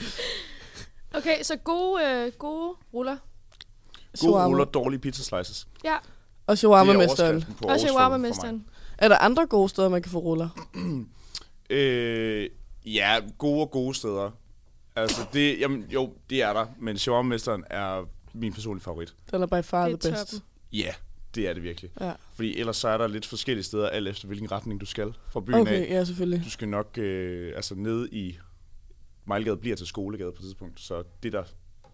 B: okay, så gode, øh, gode ruller.
C: ikke. Gode ruller, dårlige pizza slices.
B: Ja,
A: Og
C: Det er
A: shawarma-mesteren.
C: overskriften på
B: og
C: Aarhus for-
B: shawarma-mesteren.
A: Er der andre gode steder, man kan få ruller?
C: for mig. Øh, ja, gode og gode steder. Altså, det, jamen, jo, det er der, men shawarma-mesteren er min personlige favorit.
A: Den er by far
B: Det
A: the
B: er
A: best.
B: toppen.
C: Ja, det er det virkelig.
A: Ja.
C: Fordi ellers så er der lidt forskellige steder, alt efter hvilken retning du skal fra byen af.
A: Okay, ja, selvfølgelig.
C: Du skal nok øh, altså ned i Mejlgade bliver til Skolegade på et tidspunkt, så det der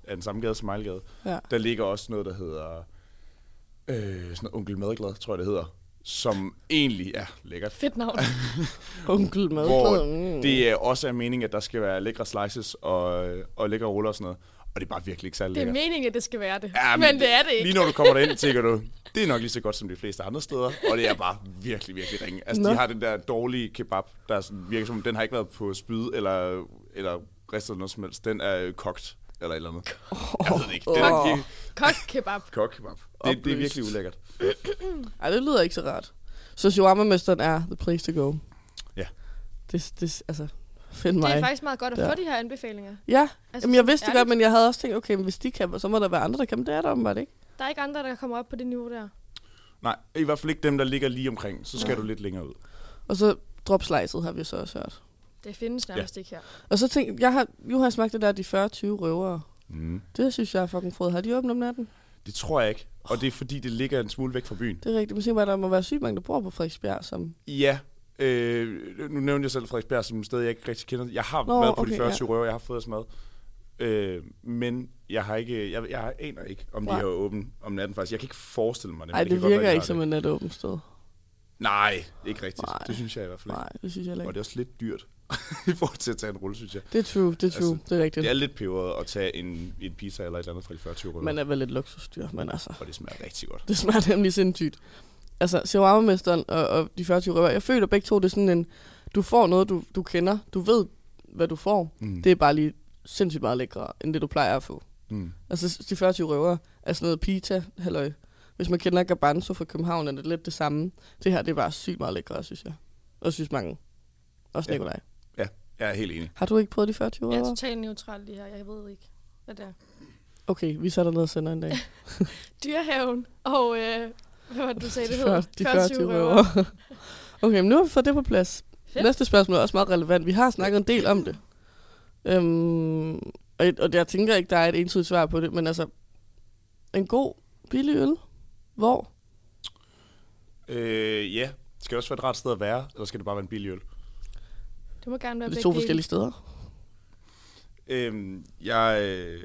C: er den samme gade som Mejlgade,
A: Ja.
C: der ligger også noget, der hedder øh, sådan noget Onkel Madglad, tror jeg det hedder, som egentlig er lækkert.
B: Fedt navn.
A: Onkel med.
C: Hvor
B: mm.
C: det er også er meningen, at der skal være lækre slices og, og lækre ruller og sådan noget, og det er bare virkelig ikke særlig
B: Det er
C: lækkert.
B: meningen, at det skal være det.
C: Ja,
B: men det er det ikke.
C: Lige når du kommer derind, tænker du, det er nok lige så godt som de fleste andre steder, og det er bare virkelig, virkelig ringe. Altså, Nå.
A: Nå.
C: de har den der dårlige kebab, der er sådan, virker som, den har ikke været på spyd eller, eller ristet eller noget som helst. Den er øh, kogt eller et eller andet. Jeg ved det ikke. Den er
A: Åh.
C: virkelig
B: Kok kebab.
C: kogt kebab. Det, det er
A: Oplyst.
C: virkelig ulækkert.
A: Ej, det lyder ikke så rart. Så shawarma-mesteren er the place to go.
C: Ja.
A: Det, det, altså, find mig.
B: Det er faktisk meget godt at
A: Ja.
B: få de her anbefalinger.
A: Ja,
B: Altså,
A: Jamen, jeg
B: sådan
A: vidste det
B: ærligt.
A: godt, men jeg havde også tænkt, okay, men hvis de kan, så må der være andre, der kan. Men det er der åbenbart ikke.
B: Der er ikke andre, der kommer op på det niveau der.
C: Nej, i hvert fald ikke dem, der ligger lige omkring. Så skal du lidt længere ud.
A: Og så drop slicet, har vi så også hørt.
B: Det findes nærmest ja. ikke her.
A: Og så tænkte jeg, har, jo har jeg smagt det der, de 40-20 røvere.
C: Mm.
A: Det synes jeg er fucking frød. Har de åbent om natten?
C: Det tror jeg ikke. Og det er fordi, det ligger en smule væk fra byen.
A: Det er rigtigt. Men tænk mig, der må være sygt mange, der bor på Frederiksbjerg, som...
C: Ja, øh, nu nævnte jeg selv Frederiksberg som et sted, jeg ikke rigtig kender. Jeg har Nå,
A: Nå,
C: været på okay, de
A: okay,
C: 40 ja. røver, jeg har fået os mad. Øh, men jeg har ikke, jeg, jeg aner ikke, om de
A: Nej.
C: har åbent om natten faktisk. Jeg kan ikke forestille mig det. men
A: Nej,
C: kan
A: det
C: godt være,
A: virker
C: de
A: ikke
C: har
A: som et natåbent sted.
C: Nej, ikke rigtigt. Nej.
A: Nej.
C: Det synes jeg i hvert fald ikke.
A: Nej, det synes jeg heller
C: Og det
A: ikke.
C: er også lidt dyrt i forhold til at tage en rulle, synes jeg.
A: Det er true, det er true.
C: Altså,
A: det er rigtigt.
C: Det er lidt peberet at tage en, en pizza eller et eller andet fra de 40 røver.
A: Man er vel lidt luksusdyr, men altså...
C: Og det smager rigtig godt.
A: Det smager nemlig sindssygt. Altså, shawarma-mesteren og, og de 40 røver, jeg føler begge to, det er sådan en... Du får noget, du, du kender. Du ved, hvad du får.
C: Mm.
A: Det er bare lige sindssygt meget lækre, end det du plejer at få.
C: Mm.
A: Altså de 40 røver er sådan noget pita, halløj. Hvis man kender Garbanzo fra København, er det lidt det samme. Det her, det er bare sygt meget lækkert, synes jeg. Og synes mange. Også
C: Ja.
A: Nikolaj.
C: Jeg er helt enig.
A: Har du ikke prøvet de 40
B: Jeg er
A: røver?
B: totalt neutral lige her. Jeg ved ikke, hvad det er.
A: Okay, vi sætter ned og sender en dag.
B: Dyrehaven og... Øh, hvad var det, du sagde, det
A: De
B: hedder?
A: 40 de 40 røver. Okay, men nu har vi fået det på plads.
B: Fedt.
A: Næste spørgsmål er også meget relevant. Vi har snakket en del om det. Øhm, og, og jeg tænker ikke, der er et entydigt svar på det, men altså, en god, billig øl, hvor?
C: Øh, ja. Skal det også være et ret sted at være, eller skal det bare være en billig øl?
B: Det må gerne være
A: Det er
B: begge
A: to
B: dele.
A: forskellige steder.
C: Øhm, jeg... Øh,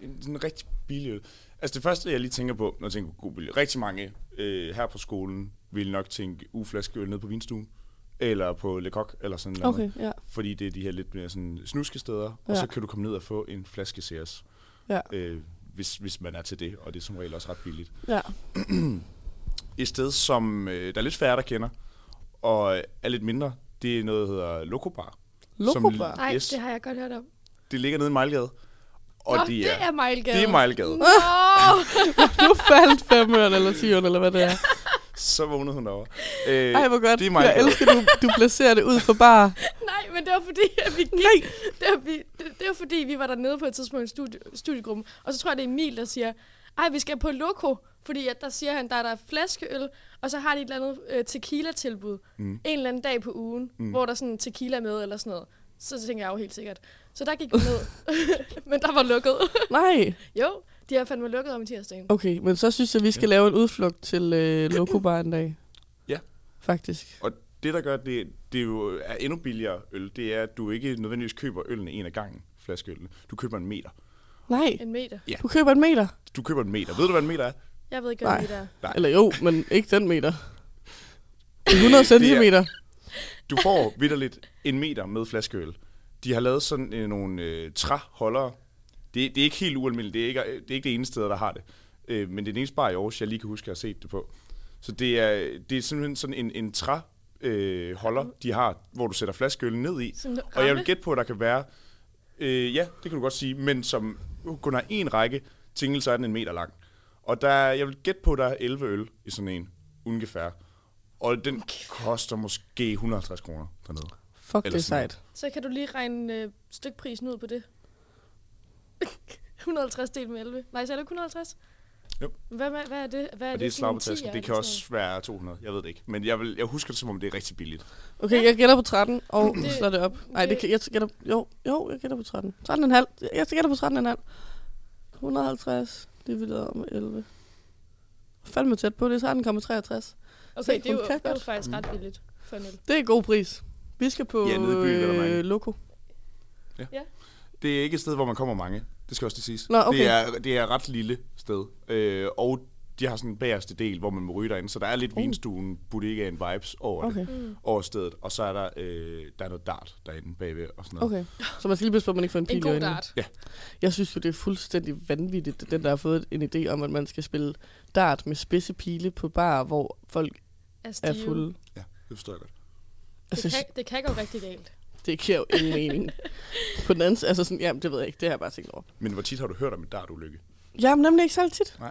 C: en sådan rigtig billig øl. Altså det første, jeg lige tænker på, når jeg tænker på god billig, rigtig mange øh, her på skolen vil nok tænke uflaske øl ned på vinstuen, eller på Le Coq, eller sådan noget.
A: Okay, ja.
C: Fordi det er de her lidt mere sådan snuske steder, ja.
A: Ja.
C: og så kan du komme ned og få en flaske Ceres,
A: Ja.
C: øh, hvis, hvis man er til det, og det er som regel også ret billigt.
A: ja.
C: Et sted, som øh, der er lidt færre, der kender, og er lidt mindre, det er noget, der hedder Lokobar.
A: Lokobar?
C: Som,
B: Nej,
C: yes,
B: det har jeg godt hørt om.
C: det ligger nede i Mejlgade. Og
B: Nå,
C: det, er,
B: det er Mejlgade.
C: det er Mejlgade.
B: Nå!
A: Nu faldt fem øl eller ti øl, eller hvad det er.
C: Så vågnede hun derovre. Øh,
A: Ej, hvor godt.
C: Det er
A: jeg
C: Mejlgade.
A: elsker, du, du placerer det ud for bare.
B: Nej, men det var fordi, at vi gik.
A: Nej.
B: Det var, vi, det, det var fordi, vi var dernede på et tidspunkt i studie, studiegruppen, og så tror jeg, det er Emil, der siger, ej, vi skal på Loco, fordi at der siger han, der er der flaskeøl, og så har de et eller andet øh, tequila-tilbud mm. en eller anden dag på ugen, mm. hvor der er sådan tequila er med eller sådan noget. Så tænker jeg jo helt sikkert. Så der gik vi ned, men der var lukket.
A: Nej.
B: jo, de har fandme lukket om i tirsdagen.
A: Okay, men så synes jeg, vi skal lave en udflugt til øh, Lokobar en dag.
C: Ja.
A: Faktisk.
C: Og det, der gør, det, det jo er endnu billigere øl, det er, at du ikke nødvendigvis køber ølene en af gangen, flaskeølene. Du køber en meter.
A: Nej.
B: En meter.
C: Ja.
A: Du køber en meter.
C: Du køber en meter. Ved du, hvad en meter er?
B: Jeg ved ikke,
A: Nej.
B: hvad det er.
C: Nej.
A: Eller jo, men ikke den meter. 100 centimeter.
C: Du får vidderligt en meter med flaskeøl. De har lavet sådan øh, nogle øh, træholdere. Det, det er ikke helt ualmindeligt. Det er ikke det, er ikke det eneste sted, der har det. Øh, men det er den eneste bar i Aarhus, jeg lige kan huske, at jeg har set det på. Så det er, det er simpelthen sådan en, en træ, øh, holder, de har, hvor du sætter flaskeøl ned i.
B: Sådan en
C: Og jeg
B: ramme?
C: vil gætte på, at der kan være... Øh, ja, det kan du godt sige, men som uh, kun har en række tingle, så er den en meter lang. Og der, er- jeg vil gætte på, at der er 11 øl i sådan en, ungefær. Og den koster måske 150 kroner dernede.
A: Fuck, det
C: Eller
A: er
C: sådan
A: sejt.
B: Så kan du lige regne øh, stykprisen ud på det. 150 delt med 11. Nej, så er det ikke 150?
C: Jo.
B: Hvad, med, hvad er det? Hvad er
C: Og det er et
B: for nogle
C: slag på tasken.
B: tier,
C: Det
B: er
C: kan
B: sådan
C: også være 200, jeg ved det ikke. Men jeg, vil, jeg husker det, som om det er rigtig billigt.
A: Okay, jeg gætter på 13 og
B: Det-
A: slår det op. Nej, det,
B: det-
A: kan- jeg gætter, jo, jo, jeg gætter på 13. 13,5. Jeg, jeg gætter på 13,5. 150 divideret med 11. Fandme tæt på, det er 13,63.
B: noget?
A: Se,
B: Okay, det er jo,
A: hun kan
B: det er jo
A: godt.
B: faktisk
C: Mm.
B: ret billigt for en øl.
A: Det er en god pris. Vi skal på
C: Ja, nede i byen er der mange.
A: øh, Loco.
C: Det er ikke et sted, hvor man kommer mange. Det skal også lige siges.
A: Nå, okay.
C: det, er, det er et ret lille sted. Øh, og de har sådan en bagerste del, hvor man må ryge derinde. Så der er
B: Oh.
C: lidt
A: Uh.
C: vinstuen, bodegaen vibes over okay.
A: Okay.
C: det, over stedet. Og så er der, øh, der er noget dart derinde bagved og sådan noget.
A: Okay. Så man skal lige passe på, at man ikke får en pil
B: En
A: i
B: god
A: øjnene.
B: dart.
A: Jeg synes jo, det er fuldstændig vanvittigt, at den, der har fået en idé om, at man skal spille dart med spidse pile på bar, hvor folk
B: Altså,
A: er
B: det, er jo-
A: fulde.
C: Ja, det forstår jeg godt.
B: Det,
A: Altså,
B: kan, det kan gå rigtig galt.
A: det giver jo ingen mening. På den anden side, altså sådan, jamen det ved jeg ikke, det har jeg bare tænkt over.
C: Men hvor tit har du hørt om et dartulykke?
A: Jamen nemlig ikke særlig tit.
C: Nej.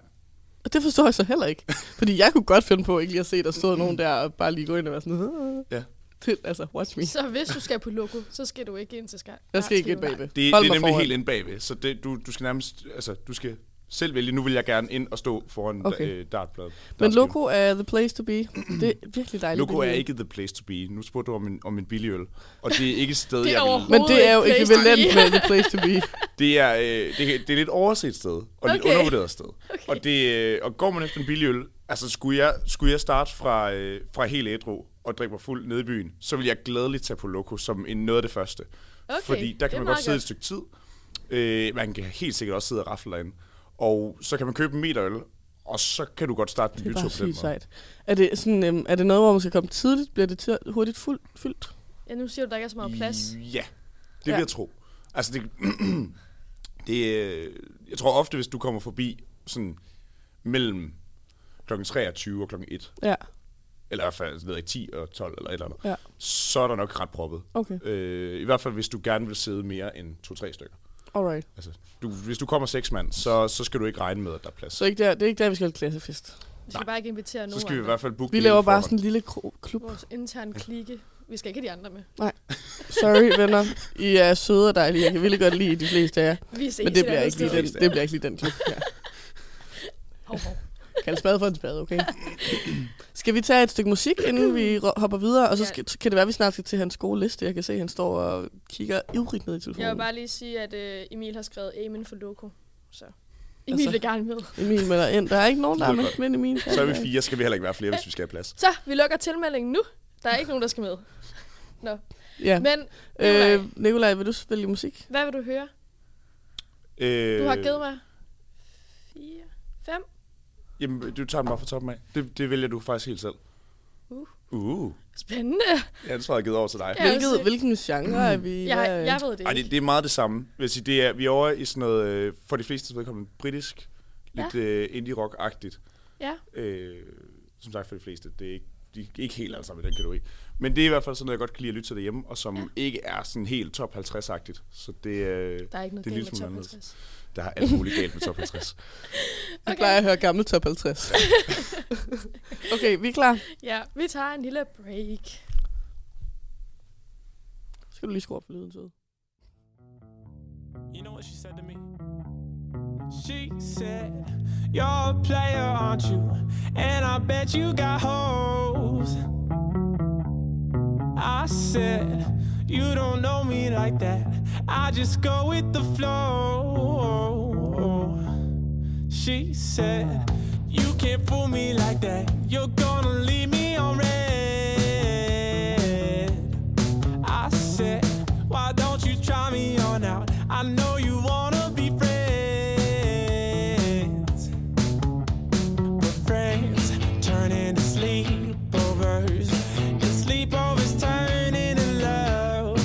A: Og det forstår jeg så heller ikke. Fordi jeg kunne godt finde på ikke lige at se, der stod nogen der og bare lige gå ind og være sådan, "Åh."
C: Ja.
A: Til, altså, watch me.
B: Så hvis du skal på loko, så skal du ikke ind til skar.
A: Jeg skal ikke ind
B: dartskiven.
A: bagved.
C: Det, det
A: Hold
C: er
A: mig
C: nemlig
A: foran.
C: helt inde bagved. Så det, du, du skal nærmest, altså du skal selv vælge. Nu vil jeg gerne ind og stå foran
A: Okay.
C: okay. øh, dartbladet.
A: Men
C: Dartskiven.
A: Loco er the place to be. Det er virkelig dejligt.
C: Loco er
A: billede.
C: ikke the place to be. Nu spurgte du om en, om en billig øl. Og det er ikke et sted,
B: Det er
C: jeg vil...
B: overhovedet-
A: Men det er jo
B: Overhovedet ikke place to
A: ekvivalent med the place to be.
C: Det er, øh, det, det er lidt overset sted, og lidt
B: Okay.
C: undervurderet sted. Okay. Og, det, øh, og går man efter en billig øl, altså skulle jeg, skulle jeg starte fra, øh, fra helt ædru og drikke mig fuld nede i byen, så vil jeg glædeligt tage på Loco som en, noget af det første.
B: Okay,
C: Fordi der
B: det er
C: kan man
B: meget
C: godt sidde
B: godt.
C: et stykke tid. Øh, man kan helt sikkert også sidde og rafle derinde. Og så kan man købe en meterøl, og så kan du godt starte din
A: Det er
C: bytur
A: bare
C: på den
A: sygt
C: måde.
A: sejt. Er det, sådan, øhm, er det noget, hvor man skal komme tidligt? Bliver det til- hurtigt fuld, fyldt?
B: Ja, nu siger du, der ikke er så meget plads.
C: Ja, det
A: Ja.
C: vil jeg tro. Altså, det, det, øh, jeg tror ofte, hvis du kommer forbi sådan mellem kl. 23 og kl. 1,
A: Ja,
C: eller i hvert fald, jeg ved ikke, 10 og 12 eller et eller andet,
A: Ja.
C: så er der nok ret proppet.
A: okay.
C: Øh, I hvert fald, hvis du gerne vil sidde mere end 2-3 stykker.
A: Alright.
C: Du, hvis du kommer seks mand, så, så skal du ikke regne med, at der er plads.
A: Så ikke der, det er ikke der, vi skal holde klassefest.
B: Vi skal bare ikke invitere nogen
C: så skal vi i
B: andre.
C: hvert fald booke
A: Vi
C: det
A: laver bare
C: i forhånd.
A: sådan en lille kro- klub.
B: Vores interne klikke. Vi skal ikke have de andre med.
A: Sorry, venner. I er søde og dejlige. Jeg kan virkelig godt lide de fleste af jer.
B: Vi ses
A: Men det
B: et
A: bliver
B: andet
A: ikke lige
B: sted.
A: den, det bliver ikke lige den klub. Ja.
B: Hov, hov.
A: Kald spade for en spade, okay? Skal vi tage et stykke musik, inden vi ro- hopper videre? Og så,
B: Ja.
A: skal, så kan det være, at vi snart skal til hans skoleliste. Jeg kan se, at han står og kigger ivrigt ned i telefonen.
B: Jeg vil bare lige sige, at øh, Emil har skrevet Amen for Loco. Så Emil altså. vil gerne med.
A: Emil melder ind. Der er ikke nogen, der er
C: Det er
A: med,
C: godt.
A: men Emil.
C: Så er vi fire, skal vi heller ikke være flere, hvis vi skal have plads.
B: Så, vi lukker tilmeldingen nu. Der er ikke nogen, der skal med.
A: Ja.
B: Men Nikolaj.
A: Øh, Nikolaj, vil du spille musik?
B: hvad vil du høre?
C: Øh,
B: Du har givet mig fire, fem.
C: Jamen, du tager den bare fra toppen af. Det, det vælger du faktisk helt selv.
B: Uh.
C: Uh.
B: Spændende.
C: Jeg ansvaret er givet over til dig.
B: Ja,
A: Hvilket,
B: altså-
A: hvilken genre er vi?
B: Jeg,
A: Hvad-
B: jeg ved det
C: Ej,
B: ikke.
C: det, det er meget det samme. Vil sige, det er, vi er over i sådan noget, øh, for de fleste vedkommende, britisk, lidt øh, indie-rock-agtigt.
B: Ja.
C: Øh, som sagt for de fleste, det er ikke, de er ikke helt alle sammen i den kategori. Men det er i hvert fald sådan noget, jeg godt kan lide at lytte til derhjemme, og som
B: Ja.
C: ja. ikke er sådan helt top 50-agtigt. Så det, øh,
B: Der er ikke noget
C: Det er
B: galt
C: en
B: med
C: lille
B: top
C: smule
B: 50.
C: der er alt muligt galt med top 50.
A: Jeg
B: Okay.
A: plejer at høre gammel top 50. okay, vi er klar.
B: Ja, vi tager en lille break.
A: Skal du lige skrue op for lyden, så.
D: You know what she said to me? She said, You're a player, aren't you? And I bet you got hoes. I said, You don't know me like that. I just go with the flow. She said, You can't fool me like that. You're gonna leave me on red. I said, why don't you try me on out? I know you wanna be friends. But friends turn into sleepovers. And sleepovers turn into love.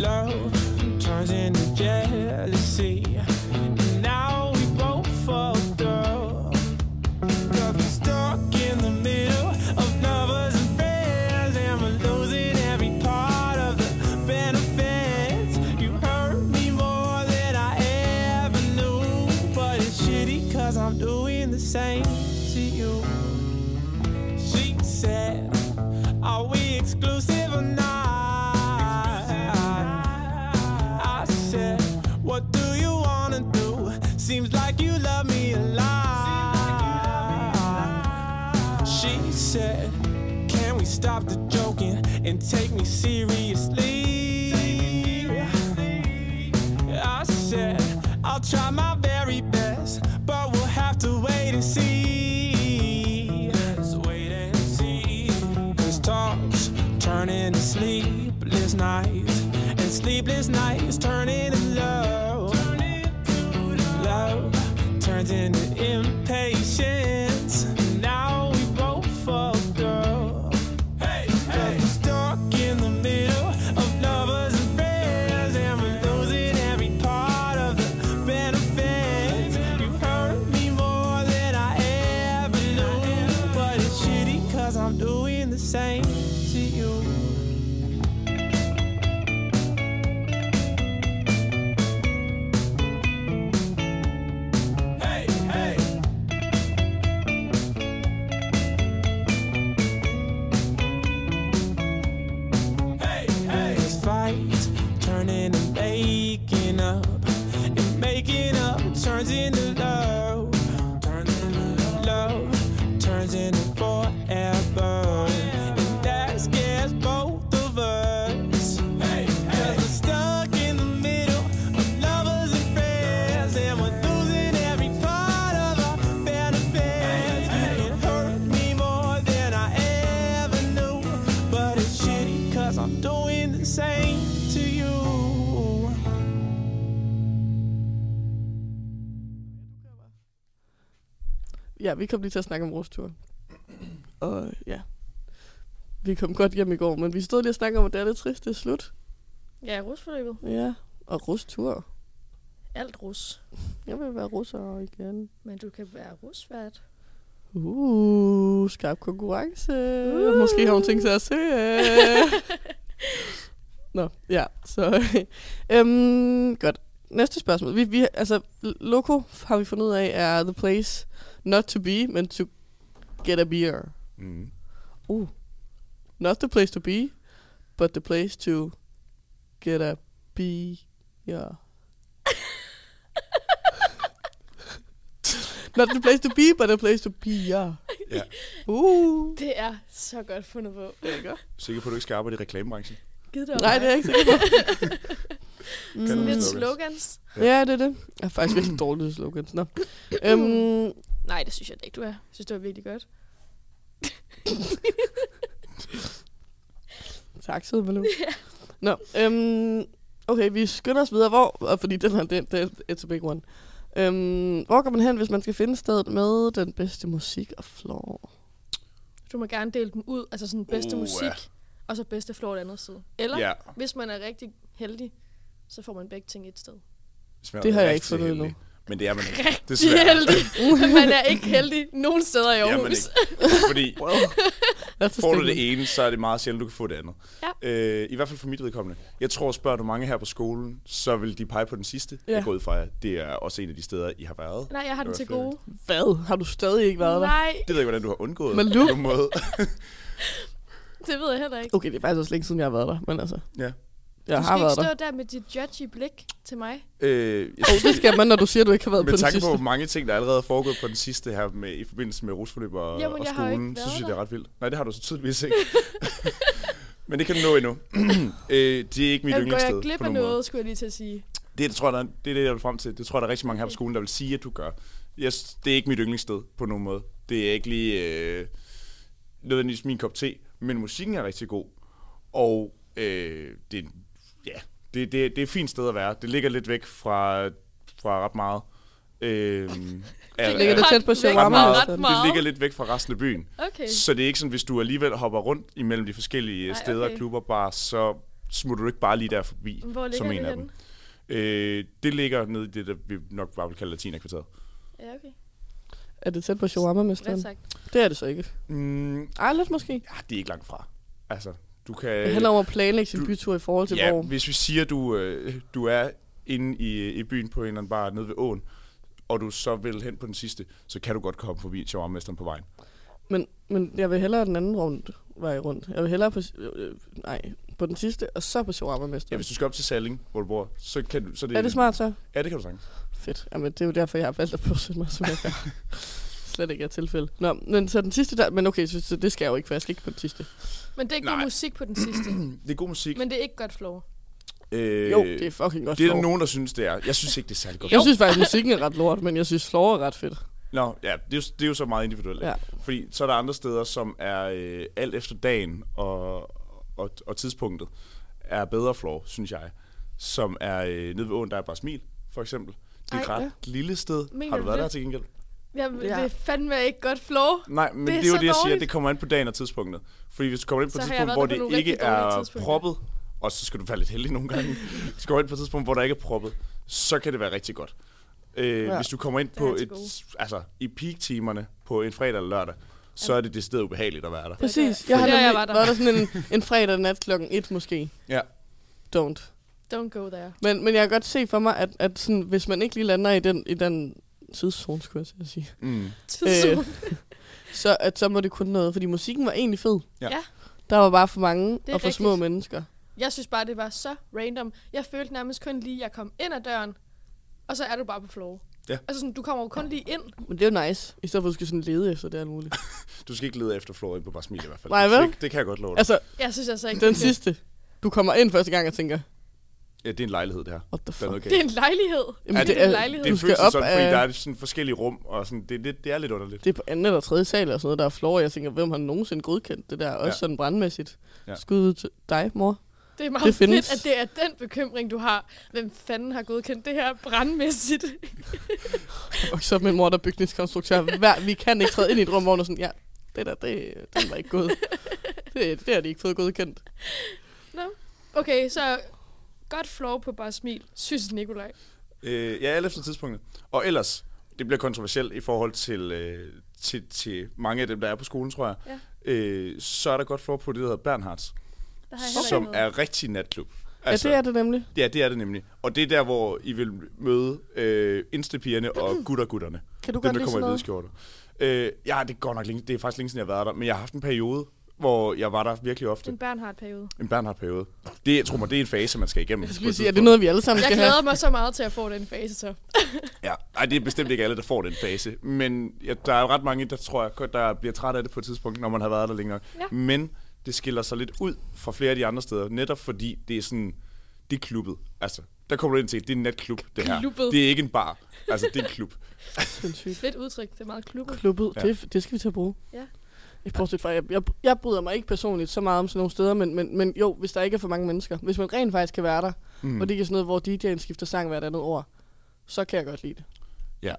D: Love turns into jealousy. And now we both fucked up. Cause we're stuck in the middle of lovers and friends And we're losing every part of the benefits You hurt me more than I ever knew But it's shitty cause I'm doing the same to you She said, are we exclusive or not? I said, What do you wanna do? Seems like you love me a lot. She said, Can we stop the joking and take me seriously? I said, I'll try my very best, but we'll have to wait and see. Let's wait and see. Cause talks turn into sleepless nights, and sleepless nights turn into love. Love turns into impatience. Now we both fucked up. Hey, hey. Stuck in the middle of lovers and friends, and we're losing every part of the benefits. You hurt me more than I ever knew, but it's shitty cause I'm doing the same to you. Hey, hey. Hey, hey. This fight turning and making up, and making up turns into love. Turns into love, turns into forever, and that scares both of us. Hey, hey. Cause we're stuck in the middle of lovers and friends, and we're losing every part of our benefits. You can hurt me more than I ever knew, but it's shitty cause I'm doing the same to you.
A: Ja, vi kom lige til at snakke om rustur. Og ja, vi kom godt hjem i går, men vi stod lige og snakkede om, at det er lidt trist, det er slut.
B: Ja, rusforløbet.
A: Ja, og rustur.
B: Alt rus.
A: Jeg vil være russer igen.
B: Men du kan være rusvært.
A: Uh, skarp konkurrence.
B: Uh.
A: Uh. Måske har hun tænkt sig at se. øh. Nå, ja, så... øhm, godt. næste spørgsmål. Vi, vi, altså, L- Loco har vi fundet ud af er the place not to be, men to get a beer.
C: Mm.
A: Uh. Not the place to be, but the place to get a beer. Not the place to be, but a place to beer.
C: Ja.
A: Uh.
B: Det er så godt fundet på.
C: Sikker på, at du ikke skal arbejde i reklamebranchen.
B: Gid det
A: Nej, det er jeg ikke sikker på. Mm.
C: Kan
B: Lidt
C: Slogans.
B: slogans.
A: Ja, det er det. Jeg er faktisk virkelig dårlig til slogans. Nå.
C: Mm.
A: Øhm,
B: Nej, det synes jeg da ikke, du er. Jeg synes, det var virkelig godt.
A: tak, sidder man nu. Nå, øhm, okay, vi skynder os videre. Hvor, og fordi den her, den, den, it's a big one. Øhm, hvor går man hen, hvis man skal finde stedet med den bedste musik og floor?
B: Du må gerne dele dem ud, altså sådan bedste
C: Uh,
B: uh,
C: ja.
B: musik, og så bedste floor et andet sted. Eller,
C: Ja.
B: hvis man er rigtig heldig, så får man begge ting et sted.
C: smager
A: Det har jeg
C: rigtig
A: ikke fundet endnu.
C: heldigt. Men det er man ikke.
B: Rigtig
C: Desværre.
B: heldig. man er ikke heldig nogen steder i
C: Det er man
B: Aarhus.
C: ikke. Fordi
A: Wow. That's a
C: får du
A: statement.
C: det ene, så er det meget sjældent, du kan få det andet.
B: Ja.
C: Øh, I hvert fald for mit vedkommende. Jeg tror, spørger du mange her på skolen, så vil de pege på den sidste.
A: Ja.
C: Jeg går ud fra, at det er også en af de steder, I har været.
B: Nej, jeg har den
C: Det
B: til
C: var
B: gode.
A: Hvad? Har du stadig ikke været der?
B: Nej,
C: Det ved jeg ikke, hvordan du har undgået
A: Men
C: på
A: Luke-
C: nogen måde.
B: det ved jeg heller ikke.
A: Okay, det er faktisk også længe siden, jeg har været der, men altså,
C: ja.
A: jeg
B: Du
A: har
B: skal
A: været
B: ikke
A: der.
B: stå der med dit judgy blik til mig.
C: Øh, jeg
A: Og
C: synes,
A: det skal man, når du siger, du ikke har været på
C: med
A: den
C: tanke
A: sidste.
C: på hvor mange ting, der allerede er foregået på den sidste her med, i forbindelse med rusforløb og,
B: Jamen,
C: og
B: jeg har jo ikke
C: skolen, så
B: været
C: synes jeg,
B: der.
C: det er ret vildt. Nej, det har du så tydeligvis ikke. Men det kan du nå endnu. øh, det er ikke mit
B: Jamen, går jeg
C: yndlingssted
B: glip
C: på
B: af
C: nogen måde.
B: noget, skulle jeg lige til at sige.
C: Det, det, tror jeg, der, er- det er det, jeg vil frem til. Det tror jeg, der er rigtig mange her på skolen, der vil sige, at du gør. Jeg, s- det er ikke mit yndlingssted på nogen måde. Det er ikke lige øh, nødvendigvis min kop te, men musikken er rigtig god. Og øh, det, ja, det, det, det er et fint sted at være. Det ligger lidt væk fra, fra ret meget. Øh,
A: Det ligger lidt tæt på
B: Ret
C: ret
A: shawarma.
C: meget.
B: Ret
A: afstand.
B: meget.
C: Det ligger lidt væk fra resten af byen.
B: Okay.
C: Så det er ikke sådan, hvis du alligevel hopper rundt imellem de forskellige
B: Nej,
C: Ej, steder,
B: okay.
C: okay. klubber, bare, så smutter du ikke bare lige der forbi,
B: Hvor ligger
C: som en
B: det
C: af
B: henne?
C: dem. Øh, det ligger nede i det, der vi nok bare vil kalde latinakvarteret.
B: Ja, okay.
A: Er det tæt på shawarma med
B: Bredt sagt.
A: Det er det så ikke.
C: Mm,
A: Ej, lidt måske.
C: ja, det er ikke langt fra. Altså, du kan...
A: Det handler om at planlægge sin
C: du-
A: bytur i forhold til,
C: ja,
A: hvor...
C: hvis vi siger, du, øh, du er inde i, i byen på en eller anden bar nede ved åen, og du så vil hen på den sidste, så kan du godt komme forbi shawarmesteren på vejen.
A: Men, men jeg vil hellere den anden rundt, vej rundt. Jeg vil hellere på... Øh, øh, nej, på den sidste, og så på
C: Ja,
A: shawarma-mesteren.
C: hvis du skal op til Salling, hvor du bor, så kan du... Så det,
A: Er det smart så?
C: Ja, det kan du sagtens.
A: Fedt. Jamen, det er jo derfor, jeg har valgt at påsætte mig, som jeg gør. Slet ikke er tilfælde. Nå, men så den sidste der... Men okay, så, så det skal jeg jo ikke, for jeg skal ikke på den sidste.
B: Men det er ikke god
C: Nej.
B: musik på den sidste.
C: Det er god musik.
B: Men det er ikke godt flow.
C: øh,
A: Jo, det er fucking godt
C: Det er
A: floor.
C: der nogen, der synes, det er. Jeg synes ikke, det er særlig godt.
A: Jeg synes faktisk, musikken er ret lort, men jeg synes, floor er ret fedt.
C: Nå, ja, det er, jo, det er jo så meget individuelt.
A: Ja.
C: Ja. Fordi så er der andre steder, som er øh, alt efter dagen og, og, og tidspunktet, er bedre floor, synes jeg. Som er øh, nede ved åen, der er bare smil, for eksempel. Det er et
B: Ej,
C: ret
A: ja.
C: lille sted.
B: Mener
C: Har du
B: du
C: været
B: det?
C: der til gengæld?
B: Jamen,
A: Ja.
B: ja. det er fandme ikke godt flow.
C: Nej,
B: Det
C: men det
B: er
C: er, det er jo
B: så
C: det, jeg siger,
B: dårligt.
C: det kommer an på dagen og tidspunktet. Fordi hvis du kommer ind
B: Så
C: på et
B: har jeg
C: tidspunkt,
B: været
C: hvor
B: der på
C: det
B: nogle
C: ikke
B: rigtig dårlige
C: er
B: tidspunkter.
C: proppet, og så skal du være lidt heldig nogle gange. hvis du kommer ind på et tidspunkt, hvor der ikke er proppet, så kan det være rigtig godt. Øh,
A: Ja.
C: ja. Hvis du kommer ind
B: er
C: på
B: til
C: et,
B: gode.
C: altså, i peak-timerne på en fredag eller lørdag, så er det decideret ubehageligt at være der.
A: Præcis.
B: det-
A: Jeg har
B: det er, jeg
A: nemlig
B: var der.
A: været der sådan en, en fredag nat klokken 1 måske.
C: Ja.
A: Don't.
B: Don't go there.
A: Men, men jeg kan godt se for mig, at, at sådan, hvis man ikke lige lander i den, i den tidszone, skulle jeg til at sige,
C: Mm.
A: Øh,
B: Tidszone.
A: så, at så må det kun noget, fordi musikken var egentlig fed.
C: Ja.
B: Ja.
A: Der var bare for mange og for
B: er
A: rigtigt. små
B: rigtigt.
A: mennesker.
B: Jeg synes bare, det var så random. Jeg følte nærmest kun lige, at jeg kom ind ad døren, og så er du bare på flow.
C: Ja.
B: Altså sådan, du kommer jo kun lige ind.
A: Men det er jo nice, i stedet for at du skal sådan lede efter det alt muligt.
C: Du skal ikke lede efter Florian på bare smil i hvert fald.
A: Nej, vel?
C: Det, det kan jeg godt love dig. Altså,
A: Altså,
B: Jeg synes altså ikke,
A: den
B: det,
A: sidste. Du kommer ind første gang og tænker,
C: ja, det er en lejlighed, det her.
A: what the
C: Den er
A: fuck?
C: okay.
B: det er en lejlighed.
A: Jamen,
C: Ja,
B: det er en lejlighed.
C: Det
A: du
C: er
A: skal
C: følelsen
A: op
C: sådan,
A: af,
C: fordi der er sådan forskellige rum, og sådan, det, det, det er lidt underligt.
A: det er på anden eller tredje sal eller sådan noget, der er floor, og jeg tænker, hvem har nogensinde godkendt det der, også
C: Ja.
A: sådan brandmæssigt. Ja.
C: Ja.
A: Skud ud til dig, mor.
B: Det er meget
A: Det
B: det
A: findes.
B: fedt, at det er den bekymring, du har. Hvem fanden har godkendt det her brandmæssigt?
A: Og så min mor, der er bygningskonstruktør. Hver, vi kan ikke træde ind i et rum, hvor hun er sådan, ja, det der, det, den var ikke god. Det, det har de ikke fået godkendt.
B: Okay, så godt flow på bare smil, synes Nikolaj.
C: Øh, ja, alt efter tidspunktet. Og ellers, det bliver kontroversielt i forhold til, øh, til, til mange af dem, der er på skolen, tror jeg.
B: Ja.
C: Øh, så er der godt for på det, der hedder Bernhards,
B: Der har jeg heller
C: som
B: ikke noget.
C: er rigtig natklub.
A: Altså, ja, det er det nemlig.
C: Ja, det er det nemlig. Og det er der, hvor I vil møde øh, instapigerne og gutter-gutterne.
A: Kan du
C: Dem,
A: godt
C: der
A: lide sådan
C: kommer i hvide
A: noget?
C: skjorter. Øh, ja, det går nok længe. Det er faktisk længe siden, jeg har været der. Men jeg har haft en periode, hvor jeg var der virkelig ofte.
B: En Bernhard-periode.
C: En Bernhard-periode. Det, jeg tror mig, det er en fase, man skal igennem.
A: Jeg skulle lige sige, er det noget, vi alle sammen
B: Jeg
A: skal
B: glæder
A: have?
B: mig så meget til at få den fase, så.
C: Ja, Ej, det er bestemt ikke alle, der får den fase. Men ja, der er jo ret mange, der tror jeg, godt, der bliver træt af det på et tidspunkt, når man har været der længere.
B: Ja.
C: Men det skiller sig lidt ud fra flere af de andre steder, netop fordi det er sådan, det er klubbet. Altså, der kommer du ind til, det er en natklub, det her.
B: Klubbet.
C: Det er ikke en bar. Altså, det er en klub.
A: Sindssygt.
B: Fedt udtryk. Det er meget klubbet.
A: Klubbet,
C: Ja.
A: ja. det, det skal vi til at bruge.
B: Ja.
A: Jeg, bortset fra, jeg, jeg, jeg bryder mig ikke personligt så meget om sådan nogle steder, men, men, men jo, hvis der ikke er for mange mennesker. Hvis man rent faktisk kan være der, mm. og det ikke er sådan noget, hvor DJ'en skifter sang hvert andet år, så kan jeg godt lide det.
C: Ja.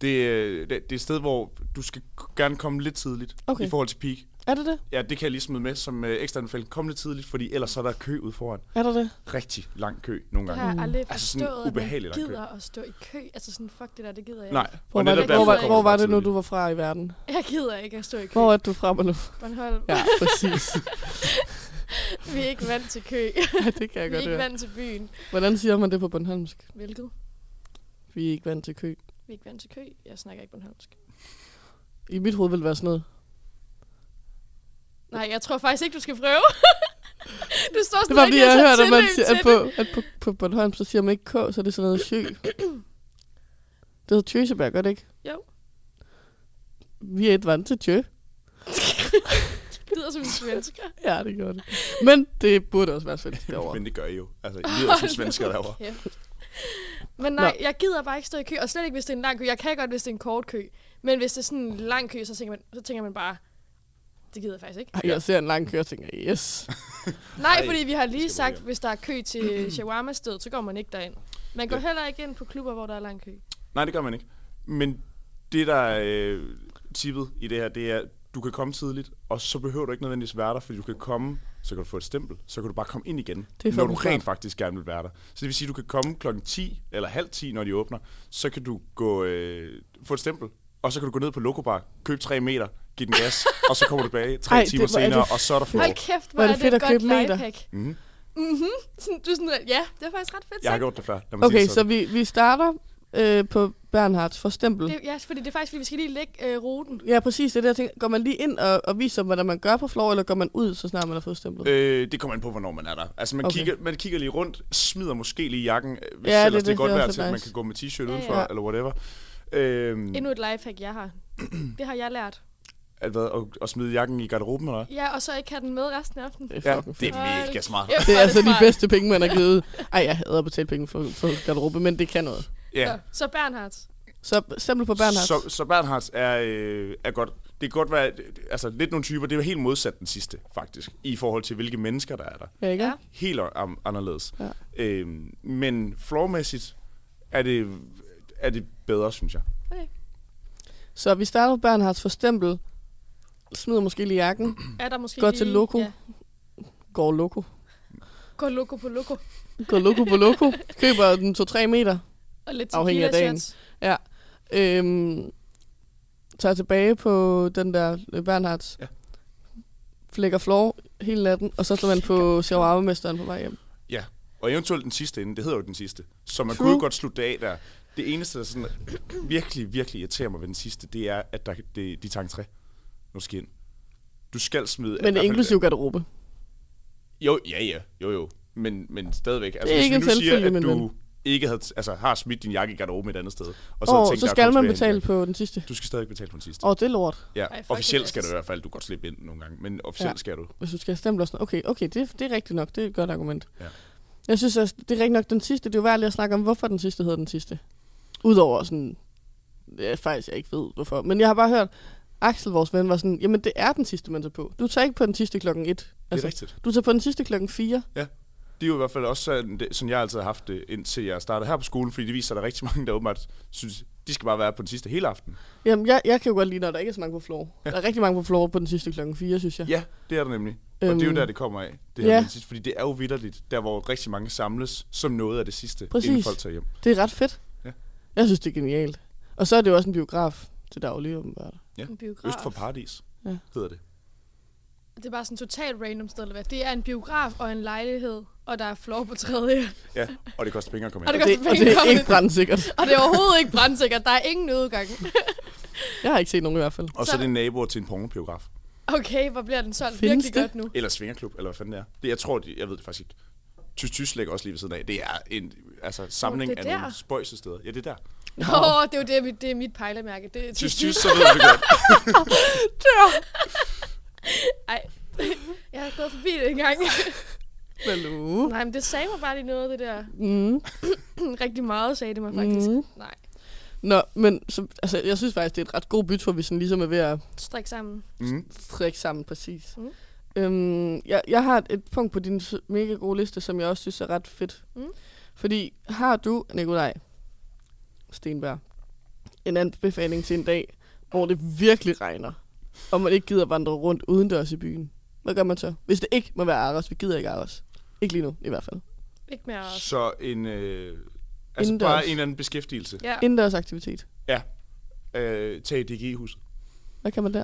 C: Det, øh, det, det er et sted, hvor du skal k- gerne komme lidt tidligt
A: Okay.
C: i forhold til peak.
A: Er det det?
C: Ja, det kan jeg lige smide med som øh, ekstra anbefaling. Kom lidt tidligt, fordi ellers så er der kø ude foran.
A: Er det det?
C: Rigtig lang kø nogle
B: Det
C: gange.
B: har jeg aldrig
C: Altså sådan
B: forstået, altså
C: ubehageligt
B: at
C: lang
B: man
C: kø.
B: gider at stå i kø. Altså sådan, fuck det der, det gider jeg
C: Nej,
B: ikke.
A: Hvor,
C: og
A: var
C: netop
A: det,
C: derfor
A: hvor, var,
C: kommer
A: hvor var
C: bare
A: det nu, du
C: tidligt.
A: var fra i verden?
B: Jeg gider ikke at stå i kø.
A: Hvor er det, du er fra, Malou?
B: Bornholm.
A: Ja, præcis.
B: Vi er ikke vant til kø.
A: Ja, det kan jeg
B: Vi er
A: godt
B: ikke
A: høre.
B: vant til byen.
A: Hvordan siger man det på Bornholmsk?
B: Hvilket?
A: Vi er ikke vant til kø.
B: Vi er ikke vant til kø. Jeg snakker ikke bornholmsk.
A: I mit hoved vil det være sådan noget.
B: Nej, jeg tror faktisk ikke, du skal prøve. du står sådan
A: Det var fordi,
B: rigtig
A: jeg
B: og tager
A: hørte, at, man siger,
B: tilløb til
A: at, på, at på, på Bornholm, så siger man ikke K, så er det sådan noget sjø. Det hedder Tjøseberg, gør det ikke?
B: Jo.
A: Vi er et vant til tjø.
B: Det lyder som en svensker.
A: Ja, det gør det. Men det burde også være svensk derovre.
C: Men det gør I jo. Altså, I lyder som svensker derovre.
B: Kæft. Men nej, jeg gider bare ikke stå i kø, og slet ikke, hvis det er en lang kø. Jeg kan godt, hvis det er en kort kø. Men hvis det er sådan en lang kø, så tænker man, så tænker man bare, det gider jeg faktisk ikke.
A: Ej, jeg ser en lang kø og tænker, yes.
B: Nej,
C: Ej,
B: fordi vi har lige
C: det skal man
B: sagt,
C: ikke.
B: hvis der er kø til shawarma sted, så går man ikke derind. Man går
C: Ja.
B: heller ikke ind på klubber, hvor der er lang kø.
C: Nej, det gør man ikke. Men det, der er øh, tippet i det her, det er, du kan komme tidligt, og så behøver du ikke nødvendigvis være der, fordi du kan komme, så kan du få et stempel, så kan du bare komme ind igen,
A: Det er
C: når du
A: fucking smart.
C: rent faktisk gerne vil være der. Så det vil sige, at du kan komme klokken 10 eller halv 10, når de åbner, så kan du gå, øh, få et stempel, og så kan du gå ned på Lokobar, købe 3 meter, give den gas, og så kommer du tilbage 3
A: Ej, det
C: timer
A: var- er det
C: senere, og så er der
A: fedt.
C: floor.
B: Hold kæft, hvor
A: Hvor er
B: er
A: det
B: det
A: fedt
B: et
A: at
B: godt
A: købe meter.
B: lifehack.
C: Mhm.
B: Mhm. Sådan, du er sådan, ja, det er faktisk ret fedt
C: Jeg har
B: sagt.
C: gjort det før. Lad mig sige
A: Okay,
C: det
A: så vi, vi starter øh, på Bernhards for stempel.
B: Det, ja, fordi det er faktisk, fordi vi skal lige lægge øh, ruten.
A: Ja, præcis. Det er det, jeg tænker. Går man lige ind og, og viser, hvordan man gør på floor, eller går man ud, så snart man har fået stemplet?
C: Øh, det kommer an på, hvornår man er der. Altså, man,
A: Okay.
C: okay. kigger, man kigger lige rundt, smider måske lige jakken, øh, hvis
A: Ja,
C: ja,
A: det er
C: ellers det, det er
A: det,
C: godt
A: det er
C: vejr
A: også
C: til, at man
A: nice.
C: kan gå med t-shirt
B: Ja,
C: udenfor,
A: ja.
C: eller whatever. Øhm,
B: Endnu et lifehack, jeg har. Det har jeg lært.
C: at, hvad, og, og smide jakken i garderoben, eller hvad?
B: Ja, og så ikke have den med resten af aftenen.
A: Det er
C: Ja,
A: fucking
C: det er
B: Hold
C: mega smart.
B: kæft,
A: Det
B: hvor
A: er altså de
B: smart.
A: bedste penge, man har givet. ud. Ej, jeg hader at betale penge for, for garderobe, men det kan noget.
C: Ja.
B: Nå, Så Bernhards.
A: Så stempel på Bernhards.
C: Så, så Bernhards er, øh, er godt. Det kan godt være, altså lidt nogle typer, det er helt modsat den sidste, faktisk, i forhold til, hvilke mennesker der er der.
A: Ja, ikke?
B: Ja.
A: Ja.
C: helt an- anderledes.
A: Ja.
C: Øhm, men floormæssigt er det, er det bedre, synes jeg.
B: Okay.
A: Så vi starter på Bernhards for stempel. Smider måske lige jakken.
B: Er der måske
A: Gå
B: lige,
A: til Loco.
B: Ja.
A: Går loko.
B: Gå Loco på Loco.
A: Går loko på loko. Køber den 2-3 meter.
B: Og lidt
A: Afhængig af
B: tequila shots.
A: Ja. Øhm, tager tilbage på den der øh, Bernhards.
C: Ja.
A: Ja. Flækker floor hele natten, og så står man på shawarma-mesteren på vej hjem.
C: Ja. Og eventuelt den sidste ende, det hedder jo den sidste. Så man
A: True.
C: kunne jo godt slutte det af der. Det eneste, der sådan virkelig, virkelig irriterer mig ved den sidste, det er, at der, det, de tager en træ. Nu skal ind. Du skal smide... i
A: Men
C: hvert
A: det er
C: fald-
A: inklusiv garderobe.
C: Jo, ja, ja. Jo, jo. Men, men stadigvæk. Altså,
A: er
C: hvis
A: ikke
C: vi
A: en
C: nu siger,
A: selvfølge,
C: at
A: min
C: du
A: ven.
C: ikke havde, altså, har smidt din jakke i garderoben et andet sted. Og
A: Og
C: tænkt
A: så
C: dig at
A: skal
C: komme
A: man
C: tilbage igen.
A: betale på den sidste.
C: Du skal stadig betale på den sidste.
A: Åh, det er lort.
C: Ja,
B: Ej, fuck
C: officielt
B: det,
C: skal du i
B: altså.
C: hvert fald, du kan godt slippe ind nogle gange, men officielt ja.
A: Ja.
C: skal du.
A: hvis du skal have stempler og sådan noget. Okay, okay det, det er rigtigt nok. Det er et godt argument.
C: Ja.
A: Jeg synes også, det er rigtigt nok den sidste. Det er jo værd lige at snakke om, hvorfor den sidste hedder den sidste. Udover sådan... Ja, faktisk, jeg ikke ved, hvorfor. Men jeg har bare hørt, Axel, vores ven, var sådan, jamen det er den sidste, man tager på. Du tager ikke på den sidste klokken et.
C: Altså, det er rigtigt.
A: du tager på den sidste klokken 4.
C: Ja. Det er jo i hvert fald også sådan, det, sådan jeg altid har haft det, indtil jeg startede her på skolen, fordi det viser, at der er rigtig mange, der åbenbart synes, de skal bare være på den sidste hele aften.
A: Jamen, jeg, jeg kan jo godt lide, når der ikke er så mange på floor. Ja. Der er rigtig mange på floor på den sidste klokken 4, synes jeg.
C: Ja, det er der nemlig. Og det er jo
A: Øhm,
C: der, det kommer af, det her
A: ja.
C: med den sidste, fordi det er jo vidderligt, der hvor rigtig mange samles som noget af det sidste, Præcis. inden
A: Præcis.
C: folk tager hjem.
A: Det er ret fedt.
C: Ja.
A: Jeg synes, det er genialt. Og så er det jo også en biograf til daglig, åbenbart.
C: Ja.
B: En biograf.
C: Øst for Paradis
A: Ja.
C: hedder det.
B: Det er bare sådan totalt random sted at være. Det er en biograf og en lejlighed og der er floor på tredje.
C: Ja, og det koster penge at komme
B: Og
C: ind.
B: det
A: Det, og det er
B: Velkommen.
A: ikke brandsikkert.
B: Og det er overhovedet ikke brandsikkert. Der er ingen udgang.
A: Jeg har ikke set nogen i hvert fald.
C: Og så
B: så-
C: er det naboer til en pornobiograf.
B: Okay, hvor bliver den solgt
A: Findes
B: virkelig
A: det?
B: godt nu?
C: Eller svingerklub, eller hvad fanden det er. Det, jeg tror, de, jeg ved det faktisk ikke. Tys Tys ligger også lige ved siden af. Det er en altså, samling
B: det er
C: af
B: der.
C: nogle spøjse steder. Ja, det er der.
B: Åh, oh, det er jo det, mit- det er mit pejlemærke. Det er
C: Tys Tys, så ved vi det godt.
B: Ej, jeg har gået forbi det engang.
A: Hallo.
B: Nej, men det sagde mig bare lige noget, det der.
A: Mm.
B: Rigtig meget sagde det mig faktisk.
A: Mhm.
B: Mm. Nej,
A: Nå, men så, altså, jeg synes faktisk, det er et ret god bytur, hvis den ligesom er ved at
B: strik sammen.
C: Mm.
A: strikke sammen præcis.
B: Mm.
A: Mm. Øhm, jeg, jeg har et punkt på din s- mega gode liste, som jeg også synes er ret fedt.
B: Mm.
A: Mm. Fordi har du, Nikolaj Stenberg, en anbefaling til en dag, hvor det virkelig regner, og man ikke gider vandre rundt udendørs i byen, hvad gør man så? Hvis det ikke må være Aros, vi gider ikke Aros. Ikke lige nu, i hvert fald.
B: Ikke mere.
C: Så en... Øh, altså
A: Indendørs.
C: bare en eller anden beskæftigelse.
B: Ja,
A: Indendørs aktivitet.
C: Ja. Øh, tag i DGI-huset.
A: Hvad kan man der?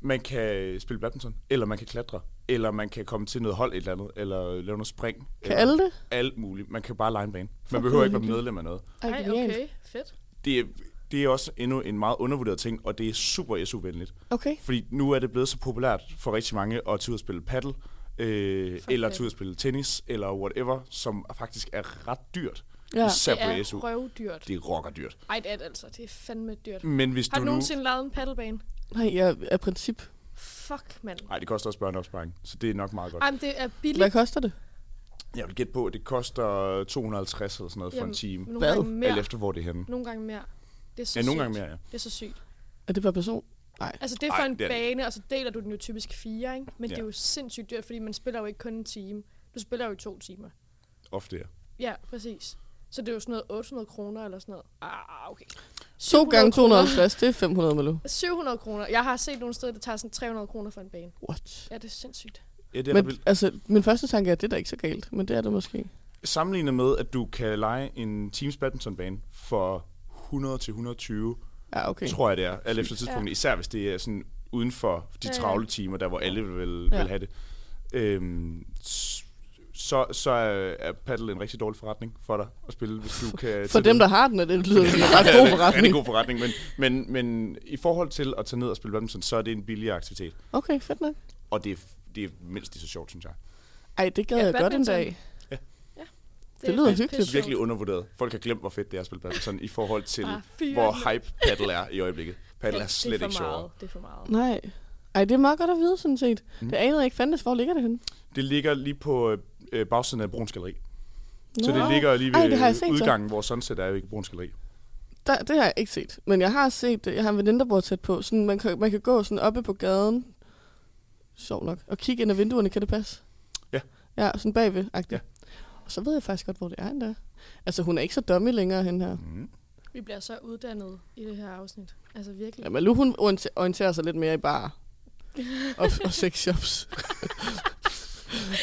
C: Man kan spille badminton, eller man kan klatre, eller man kan komme til noget hold et eller andet, eller lave noget spring.
A: Kan
C: eller
A: alle det?
C: Alt muligt. Man kan bare lege en bane. Man
A: Fuck,
C: behøver ikke
A: hvor
C: være medlem af noget.
B: Ej,
A: genialt.
B: okay, fedt.
C: Det er, det er også endnu en meget undervurderet ting, og det er super SU-venligt.
A: Okay.
C: Fordi nu er det blevet så populært for rigtig mange at tage ud og spille paddle, øh, eller
B: det.
C: tage ud og spille tennis, eller whatever, som faktisk er ret dyrt.
A: Ja.
C: Især
B: det
C: på
B: er
C: SU.
B: røvdyrt.
C: Det er rocker dyrt.
B: Ej, det er det altså. Det er fandme dyrt.
C: Men hvis
B: Har du
C: du nu...
B: nogensinde lavet en paddlebane?
A: Nej, jeg er princip.
B: Fuck, mand.
C: Nej, det koster også børneopsparing, så det er nok meget godt.
B: Ej, men det er billigt.
A: Hvad koster det?
C: Jeg vil gætte på, at det koster 250 eller sådan noget for en time.
B: Nogle
A: Hvad?
B: gange mere.
C: Alt efter, hvor det er henne.
B: Nogle gange mere. Det er så
C: Ja, nogle
B: sygt.
C: gange mere, ja.
B: Det er så sygt.
A: Er det per person? Nej.
B: Altså, det er for
C: Ej,
B: en
C: det er det ikke.
B: bane, og så deler du den jo typisk fire, ikke? Men ja. det er
C: Ja.
B: jo sindssygt dyrt, fordi man spiller jo ikke kun en time. Du spiller jo i to timer.
C: Ofte, ja.
B: Ja, præcis. Så det er jo sådan noget 800 kroner eller sådan noget. Ah, okay.
A: 2 gange
B: 700 kroner.
A: 250, det er 500 milo.
B: 700 kroner. Jeg har set nogle steder, der tager sådan 300 kroner for en bane.
A: What?
B: Ja, det er sindssygt.
C: ja det er
A: Men
C: men...
A: altså, min første tanke er, at det er da ikke så galt, men det er det måske.
C: Sammenlignet med, at du kan lege en teams badmintonbane for 100 til 120,
A: Ja, okay.
C: okay. tror jeg det er, alt efter tidspunktet. Ja. Især hvis det er sådan uden for de
B: Ja, ja.
C: travle timer, der hvor alle vil,
A: Ja.
C: vil have det. Øhm, s- så, så er er paddle en rigtig dårlig forretning for dig at spille, hvis du kan...
A: For dem, der har den, er det lyder som en ret god forretning.
C: Det er en god forretning, men, men, men i forhold til at tage ned og spille badminton, så er det en billigere aktivitet.
A: Okay, fedt nok.
C: Og det er, f- det er mindst lige så sjovt, synes jeg.
A: Ej, det gad
B: Ja,
A: jeg godt en
B: badminton.
A: dag.
B: Det,
A: lyder
B: faktisk
A: hyggeligt.
B: pisse
C: virkelig
B: sjovt.
C: undervurderet. Folk har glemt, hvor fedt det er at spille badminton i forhold til,
B: Ah, fy
C: hvor
B: helvede.
C: hype paddle er i øjeblikket. Paddle
B: Ja,
C: er slet
B: det er
C: ikke
B: for
C: sjovere.
B: meget. Det er for meget.
A: Nej. Ej, det er meget godt at vide, sådan set.
C: Mm.
A: Det anede jeg ikke fandtes. Hvor ligger det henne?
C: Det ligger lige på øh, øh, bagsiden af Bruns Galeri. Så
A: Nå.
C: det ligger lige ved
A: Ej, det har jeg set, så.
C: udgangen, hvor Sunset er jo ikke Bruns Galeri.
A: Der, det har jeg ikke set. Men jeg har set det. Jeg har en veninde, der bor tæt på. Sådan, man, kan, man kan gå sådan oppe på gaden. Sjov nok. Og kigge ind ad vinduerne, kan det passe?
C: Ja.
A: Ja, sådan bagved -agtigt.
C: Ja.
A: Ja. Og så ved jeg faktisk godt, hvor det er endda. Altså, hun er ikke så dummy længere, hende her.
C: Mm.
B: Vi bliver så uddannet i det her afsnit. Altså virkelig.
A: Ja, Malou, hun orienter- orienterer sig lidt mere i bar og, og sexshops.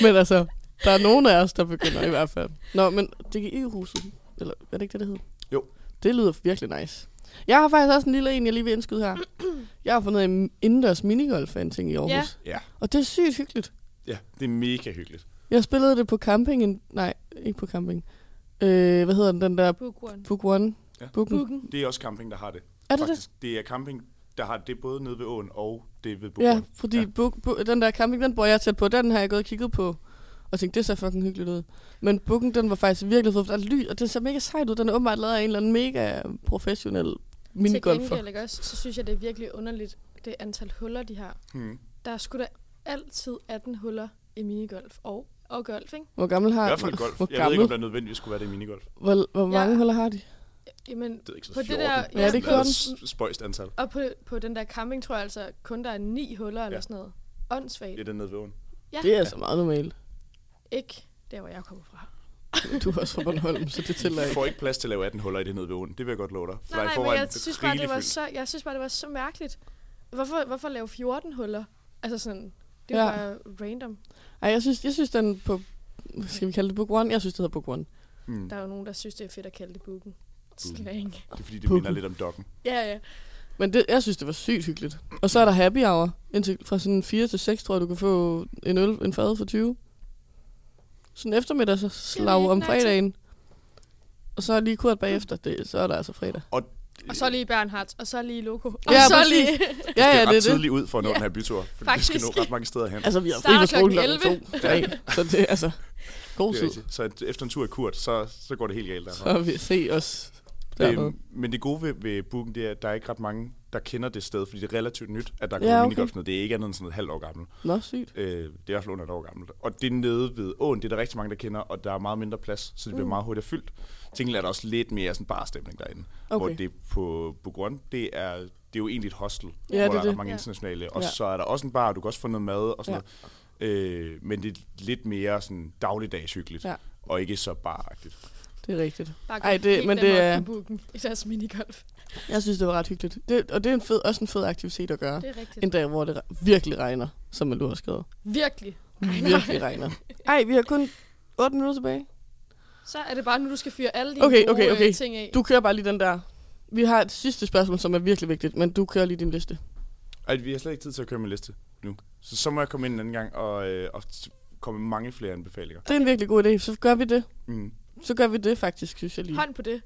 A: men altså, der er nogen af os, der begynder i hvert fald. Nå, men DGI-huset, eller er det ikke det, det hedder?
C: Jo.
A: Det lyder virkelig nice. Jeg har faktisk også en lille en, jeg lige vil indskyde her. Jeg har fundet en indendørs minigolf af en ting i Aarhus.
B: Ja.
C: Ja.
A: Og det er sygt hyggeligt.
C: ja, det er mega hyggeligt.
A: Jeg spillede det på camping. En, nej, ikke på camping. Øh, hvad hedder den, den der
B: Book one.
A: Book One?
C: Ja.
A: Booken.
B: Booken.
C: Det er også camping, der har det.
A: Er det det?
C: Faktisk, det? er camping, der har det både nede ved åen og det ved
A: Ja,
C: Bogården.
A: fordi
C: Ja.
A: ja. Book, bo, den der camping, den bor jeg tæt på. Den har jeg gået og kigget på. Og tænkte, det ser fucking hyggeligt ud. Men booken, den var faktisk virkelig fed, for der er lyd, og den ser mega sejt ud. Den er åbenbart lavet af en eller anden mega professionel
B: Til
A: minigolfer.
B: gengæld, ikke også, så synes jeg, det er virkelig underligt, det antal huller, de har.
C: Hmm.
B: Der er sgu da altid 18 huller i minigolf og, og golf, ikke?
A: Hvor gammel
C: I
A: har
C: hvert fald
A: hvor,
C: golf.
A: hvor,
C: Jeg ved ikke, om
A: gammel,
C: der nødvendigvis skulle være det i minigolf. Det
A: hvor, hvor mange
B: Ja.
A: huller har de?
B: Jamen,
C: er ikke så
B: På
C: 14.
B: det der-
A: Ja, det er
C: Sådan
A: 14.
C: et Spøjst antal.
B: og på, på den der camping, tror jeg altså, kun der er ni huller eller
C: Ja.
B: sådan noget. Åndssvagt.
C: Ja, det er nede ved åen.
B: Ja.
A: Det er altså meget normalt.
B: Ikke der, hvor jeg kommer fra.
A: Du er også fra Bornholm, så det tæller
C: Du
A: ikke.
C: får ikke plads til at lave 18 huller i det nede ved åen. Det vil jeg godt love dig. For
B: Nej,
C: der er i
B: nej, men
C: forvejen
B: jeg synes, bare, det
C: rigeligt
B: var
C: fyldt.
B: så, jeg synes bare, det var så mærkeligt. Hvorfor, hvorfor lave 14 huller? Altså sådan, det
A: Ja.
B: var bare random.
A: Ej, jeg synes, jeg synes den på... hvad Skal vi kalde det Book One? Jeg synes, det hedder Book One.
C: Mm.
B: Der er jo nogen, der synes, det er fedt at kalde det booken. Slang.
C: Det er fordi, det
A: Pukken.
C: minder lidt om dokken.
B: Ja, ja.
A: Men det, jeg synes, det var sygt hyggeligt. Og så er der happy hour. Indtil fra sådan 4 til 6, tror jeg, du kan få en øl, en fad for 20. sådan eftermiddagsslag
B: ikke
A: om
B: nej til.
A: fredagen. Og så lige kort bagefter, det, så er der altså fredag.
B: Og så lige Bernhardt, og så lige Loco. Og
A: Ja,
B: så
A: præcis.
B: lige
A: Ja,
C: det
A: ja,
C: er
A: det
C: ret
A: er det.
C: tidligt ud for at nå
B: Ja,
C: den her bytur. For vi skal
B: faktisk.
C: nå ret mange steder hen.
A: Altså, vi har fri
B: Starter
A: fra skolen
B: klokken
A: klokken to, tre, så det er altså god
C: Det er
A: tid.
C: rigtigt. Så et- efter en tur i Kurt, så, så går det helt galt derfra.
A: Så vi se os dernede.
C: Øhm, men det gode ved, ved booken, det er, at der er ikke ret mange, der kender det sted, fordi det er relativt nyt, at der er
A: Ja,
C: gået ja,
A: okay.
C: minigolf ned. Det er ikke andet end sådan et halvt år gammelt.
A: Nå, sygt.
C: Øh, det er i hvert fald under et år gammelt. Og det er nede ved åen, det er der rigtig mange, der kender, og der er meget mindre plads, så det
A: Mm.
C: bliver meget hurtigt fyldt. Til gengæld er der også lidt mere sådan barstemning derinde. Hvor
A: Okay.
C: det på Bugrund, det er, det er jo egentlig et hostel,
A: Ja, det
C: hvor
A: er
C: der er ret
A: det.
C: mange
B: Ja.
C: internationale. Og
A: Ja.
C: så er der også en bar, og du kan også få noget mad og sådan
A: Ja.
C: noget. Øh, men det er lidt mere sådan dagligdagshyggeligt,
A: Ja.
C: og ikke så baragtigt.
A: Det er rigtigt.
B: Bare
A: Ej, det- men det er-
B: Bukken, I deres minigolf.
A: Jeg synes, det var ret hyggeligt. Det, og det er en fed, også en fed aktivitet at gøre.
B: Det er rigtigt.
A: Ah. En dag, hvor det re- virkelig regner, som man nu har skrevet.
B: Virkelig.
A: Virkelig regner. Ej, vi har kun 8 minutter tilbage.
B: Så er det bare nu, du skal fyre alle dine
A: Okay,
B: gode,
A: okay,
B: øh,
A: okay.
B: ting af.
A: Du kører bare lige den der. Vi har et sidste spørgsmål, som er virkelig vigtigt, men du kører lige din liste.
C: Ej, vi har slet ikke tid til at køre min liste nu. Så så må jeg komme ind en anden gang og, øh, og s- komme med mange flere anbefalinger.
A: Det er en virkelig god idé. Så gør vi det.
C: Mm.
A: Så gør vi det faktisk, synes jeg lige.
B: Hånd på det.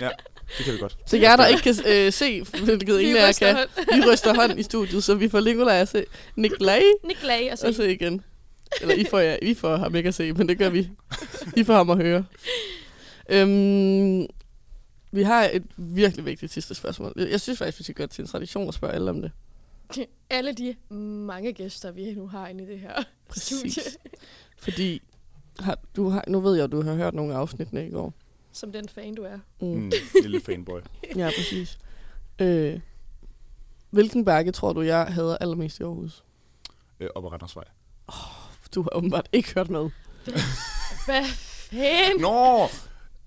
C: Ja, det kan vi godt.
A: Så jer, der ikke kan øh, se, hvilket
B: Vi
A: ingen af jer
B: ryster
A: kan,
B: hånd.
A: vi ryster hånd i studiet, så vi får Nikolaj at se Nikolaj
B: Nikolaj og så
A: at se igen. Eller I får, ja, I får ham ikke at se, men det gør vi. I får ham at høre. Øhm, vi har et virkelig vigtigt sidste spørgsmål. Jeg jeg synes faktisk, vi skal gøre det til en tradition at spørge alle om det.
B: alle de mange gæster, vi nu har inde i det her studie.
A: Fordi har, du har, nu ved jeg, at du har hørt nogle af afsnittene i går.
B: Som den fan, du er.
A: Mm.
C: Mm, lille fanboy.
A: Ja, præcis. Øh, hvilken bakke tror du, jeg hader allermest i Aarhus?
C: Øh, op ad Randersvej.
A: Du har åbenbart ikke hørt med.
B: Hvad fanden?
C: Nå!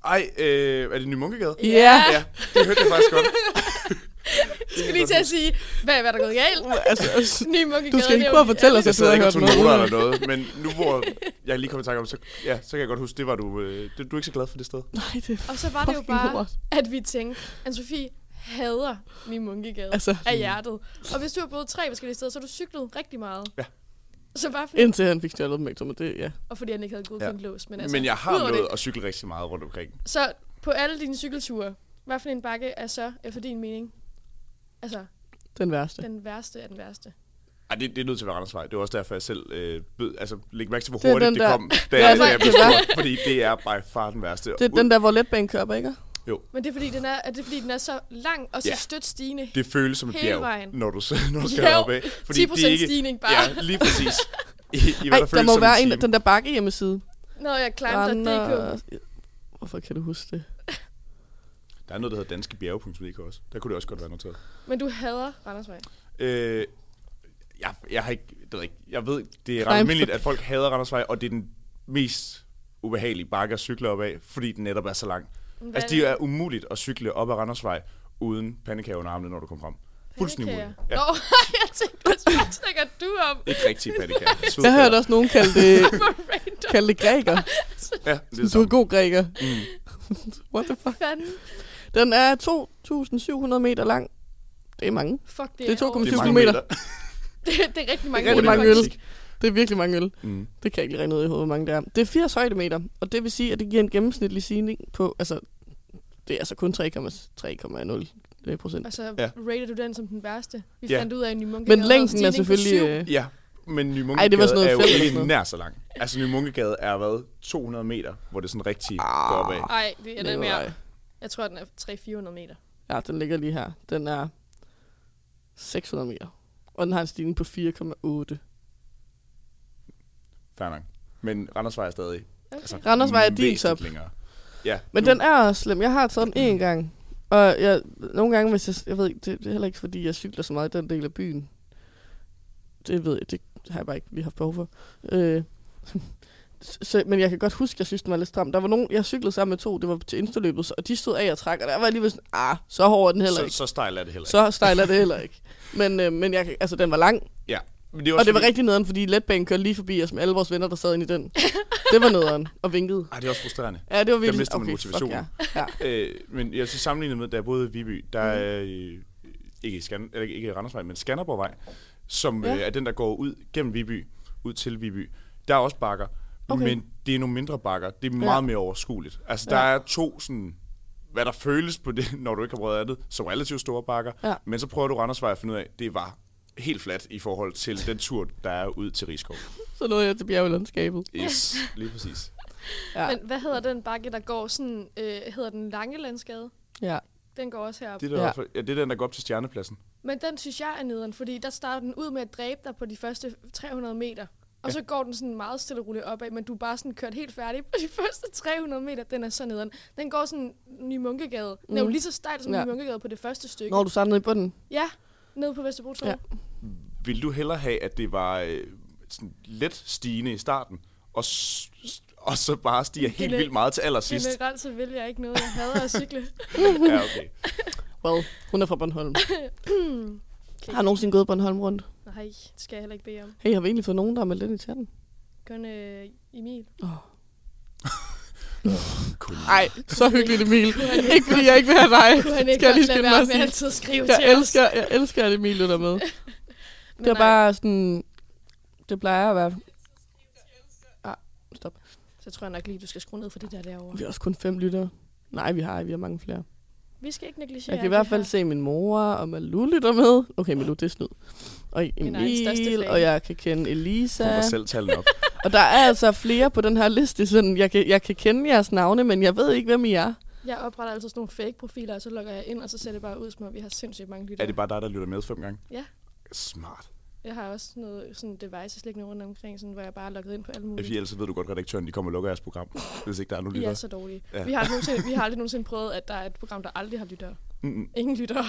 C: Ej, øh, er det Ny Munkegade?
A: Ja. ja.
C: Ja, det hørte jeg faktisk godt.
B: Jeg skal lige til at sige, hvad, hvad er der gået galt?
A: Altså, altså,
B: Ny munkegade.
A: du skal ikke prøve at fortælle os,
C: Jeg
A: at du
C: sad
A: har
C: ikke og
A: hørt
C: tog noter
A: med.
C: eller noget, men nu hvor jeg lige kom i tanke om, så, ja, så kan jeg godt huske, det var du, øh, det, du er ikke så glad for det sted.
A: Nej, det er
B: Og så var det jo
A: fucking
B: bare,
A: lort.
B: at vi tænkte, at Sofie hader Ny Munkegade altså,
A: Altså.
B: af hjertet. Og hvis du har boet tre forskellige steder, så har du cyklet rigtig meget.
C: Ja.
B: Så bare fordi,
A: Indtil han fik stjålet dem, ikke? Men det, ja.
B: og fordi han ikke havde godkendt ja. lås. Men, altså,
C: Men jeg
B: udover
C: har
B: det-
C: nået at cykle rigtig meget rundt omkring.
B: Så på alle dine cykelture, hvad for en bakke er så, efter din mening, altså
A: Den værste.
B: den værste af den værste?
C: Ej, det, det er nødt til at være Randersvej. Det var også derfor, jeg selv øh, bød, altså, læg mærke til, hvor
A: Det er
C: hurtigt
A: den
C: det
A: der.
C: kom, da
A: Ja, altså,
C: jeg,
A: det
C: da
A: er
C: jeg blev
A: den der.
C: spurgt, fordi det er by far den værste.
A: Det er den der, hvor letbanen kører, op, ikke?
B: Men det er fordi, den er, er, det fordi, den er så lang og så
C: Ja.
B: stødt stigende.
C: Det føles som et
B: Hele vejen.
C: bjerg, når du, s- når du skal
B: Jo,
C: deroppe af.
B: 10% stigning bare.
C: Ja, lige præcis. I, i hvad
A: Ej,
C: der,
A: der
C: føles
A: må
C: som
A: være
C: en,
A: en,
C: time.
A: den der bakke hjemmeside.
B: Nå, jeg klamter.dk.
A: Hvorfor kan du huske det?
C: Der er noget, der hedder danskebjerge.dk også. Der kunne det også godt være noteret.
B: Men du hader Randersvej.
C: Øh, jeg, jeg har ikke, det ved jeg ikke, jeg ved, det er ret
A: Nej.
C: almindeligt, at folk hader Randersvej, og det er den mest ubehagelige bakke at cykle op af, fordi den netop er så lang.
B: Hvad
C: Altså, det er umuligt at cykle op ad Randersvej uden pandekager under armene, når du kommer frem. Fuldstændig
B: pandekager?
C: umuligt. Ja,
B: Nå, jeg tænkte, hvad snakker du om?
C: ikke rigtig pandekager.
A: Jeg
C: Svedpaller.
A: hørte også nogen kalde det,
B: Hvor random.
A: kalde det græker.
C: Ja, det er det
A: Du
C: samme. Mm.
A: er god græker. What the fuck?
B: Fanden.
A: Den er 2.700 meter lang. Det er mange.
B: Fuck, det,
A: Det er
B: over.
C: Det er
A: 2,7
C: mange
A: kilometer.
C: meter.
B: Det, det er rigtig mange
A: Det er rigtig
B: ord,
A: mange øl.
B: faktisk.
A: Det er virkelig mange øl.
C: Mm.
A: Det kan jeg ikke lige regne ud i hovedet, hvor mange det er. Det er 80 højdemeter, og det vil sige, at det giver en gennemsnitlig stigning på, altså, det er altså kun 3,0 procent.
B: Og så
C: Ja.
B: Altså, rater du den som den værste. Vi
C: Ja.
B: fandt ud af, at Ny Munke
A: Men
B: havde
A: længden er
B: stigning på
A: selvfølgelig... Øh,
B: syv.
C: Ja, men Ny
A: Ej, det var sådan
C: Munkegade
A: noget
C: er jo
A: fem eller sådan
C: ikke
A: noget.
C: nær så lang. Altså, Ny Munkegade er, hvad, 200 meter, hvor det sådan rigtig
A: Ah.
C: går opad.
B: Ej, det er lidt
A: Nikolaj.
B: mere. Jeg tror, den er 300-400 meter.
A: Ja, den ligger lige her. Den er 600 meter. Og den har en stigning på 4,8.
C: Fair nok. Men Randersvej er stadig. Altså,
A: Randersvej er din
C: væsentligt
A: top.
C: Længere. Ja,
A: Men
C: nu-
A: den er også slem. Jeg har sådan
C: Mm.
A: en gang. Og jeg, nogle gange, hvis jeg... Jeg ved ikke, det, det er heller ikke, fordi jeg cykler så meget i den del af byen. Det ved jeg, det har jeg bare ikke lige haft behov for. Øh, så, men jeg kan godt huske, jeg synes, den var lidt stram. Der var nogen, jeg cyklede sammen med to, det var til indstorløbet, så- og de stod af og trak, og der var jeg alligevel sådan, ah, så hård er den heller
C: så,
A: ikke.
C: så stejl er det heller ikke.
A: Så stejl er det heller ikke. Men, øh, men jeg, kan- altså, den var lang,
C: Ja. Men det er
A: Og det var
C: fordi-
A: rigtig nederen, fordi letbanen kørte lige forbi os med alle vores venner, der sad inde i den. Det var nederen og vinkede.
C: Ej, det er også frustrerende.
A: Ja, det var virkelig...
C: mister man motivationen.
A: Fuck, ja. ja. Mhm.
C: Øh, men jeg så sammenlignet med, da jeg boede i Viby, der er øh, ikke, i Skan, eller ikke i Randersvej, men Skanderborgvej, som
A: Ja.
C: ja. øh, er den, der går ud gennem Viby, ud til Viby. Der er også bakker,
B: Okay.
C: Men det er nogle mindre bakker. Det er meget mere overskueligt. Altså, der er to sådan hvad der føles på det, når du ikke har prøvet andet, som relativt store bakker.
A: Ja.
C: Men så prøver du Randersvej at finde ud af, det var helt fladt i forhold til den tur, der er ud til Rigskov.
A: Så nåede jeg til bjergelandskabet.
C: Yes, lige præcis.
A: Ja.
B: Men hvad hedder den bakke, der går sådan, øh, hedder den Langelandsgade?
A: ja.
B: Den går også herop.
C: Det,
B: Det...
C: der
A: Ja.
C: ja. Også, ja, det er den, der går op til Stjernepladsen.
B: Men den synes jeg er nederen, fordi der starter den ud med at dræbe dig på de første 300 meter. Og så går den sådan meget stille og roligt opad, men du er bare sådan kørt helt færdig på de første 300 meter. Den er så nederen. Den går sådan Ny Munkegade. Den er jo
A: Mm.
B: lige så stejl som
A: Ja.
B: Ny Munkegade på det første stykke.
A: Når du samlede i bunden.
B: Ja, nede på Vesterbro Torv.
A: Ja.
B: Ja.
C: Vil du hellere have, at det var øh, sådan let stigende i starten, og, s- s- og så bare stiger helt
B: Gene-
C: vildt meget til allersidst?
B: Generelt så vil jeg ikke noget. Jeg hader at cykle.
C: Ja, okay.
A: Well, hun er fra Bornholm. Har du nogensinde gået Bornholm rundt?
B: Nej, det skal jeg heller ikke bede om.
A: Hey, har vi egentlig fået nogen, der har meldt ind i chatten?
B: Kun øh, Emil.
C: Kun
A: Nej, så hyggeligt, Emil. ikke fordi jeg ikke vil have dig.
B: Kunne han ikke
A: Skal jeg lige
B: godt lade
A: skynde mig
B: være
A: at
B: med
A: sige?
B: altid at skrive
A: Jeg
B: til os?
A: elsker, jeg elsker, at Emil lytter med.
B: Men
A: Det er
B: nej,
A: bare sådan... Det plejer at være... Ah, stop.
B: Så tror jeg nok lige, du skal skrue ned for det der derovre.
A: Vi har også kun fem lyttere. Nej, vi har, vi har mange flere.
B: Vi skal ikke negligere.
A: Jeg kan i
B: at
A: hvert
B: vi
A: fald
B: har-
A: se min mor og Malu lytter med. Okay, Malu, det er snyd. Og
B: er den største
A: Emil,
B: fan.
A: og jeg kan kende
C: hun
A: Elisa.
C: var selv tallene op.
A: Og der er altså flere på den her liste. Sådan, jeg, kan, jeg kan kende jeres navne, men jeg ved ikke, hvem I er.
B: Jeg opretter altid sådan nogle fake profiler, og så logger jeg ind, og så ser det bare ud, som om vi har sindssygt mange lyttere.
C: Er det bare dig, der lytter med fem gange?
B: Ja.
C: Smart.
B: Jeg har også sådan noget sådan devices liggende rundt omkring, sådan, hvor jeg bare er logget ind på alle
C: Fordi
B: mulige.
C: ellers så ved du godt, at redaktøren de kommer og lukker jeres program, hvis ikke der er nogen
B: I er
C: lytter.
B: så dårlige.
C: Ja.
B: Ja. Vi, har aldrig nogensinde, vi har aldrig nogensinde prøvet, at der er et program, der aldrig har lyttere.
C: Mm-mm.
B: Ingen lyttere.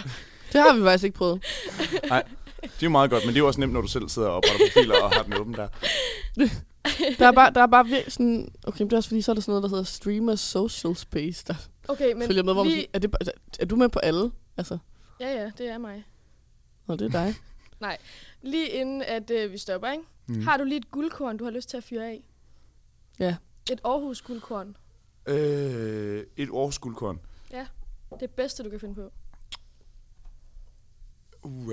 A: Det har vi faktisk ikke prøvet.
C: Det er jo meget godt, men det er jo også nemt, når du selv sidder og opretter profiler og har den åben der.
A: Der er bare, der er bare virkelig sådan... Okay, men det er også fordi, så er der sådan noget, der hedder Streamer Social Space, der
B: Okay,
A: men
B: men
A: følger med. Hvor man
B: vi...
A: sådan, er, det, bare- altså, er du med på alle? Altså,
B: Ja, ja, det er mig.
A: nå, det er dig.
B: Lige inden, at øh, vi stopper, ikke? Mm. Har du lige et guldkorn, du har lyst til at fyre af?
A: Ja.
B: Et Aarhus guldkorn.
C: Øh, et års guldkorn.
B: Ja. Det bedste, du kan finde på.
C: Uh,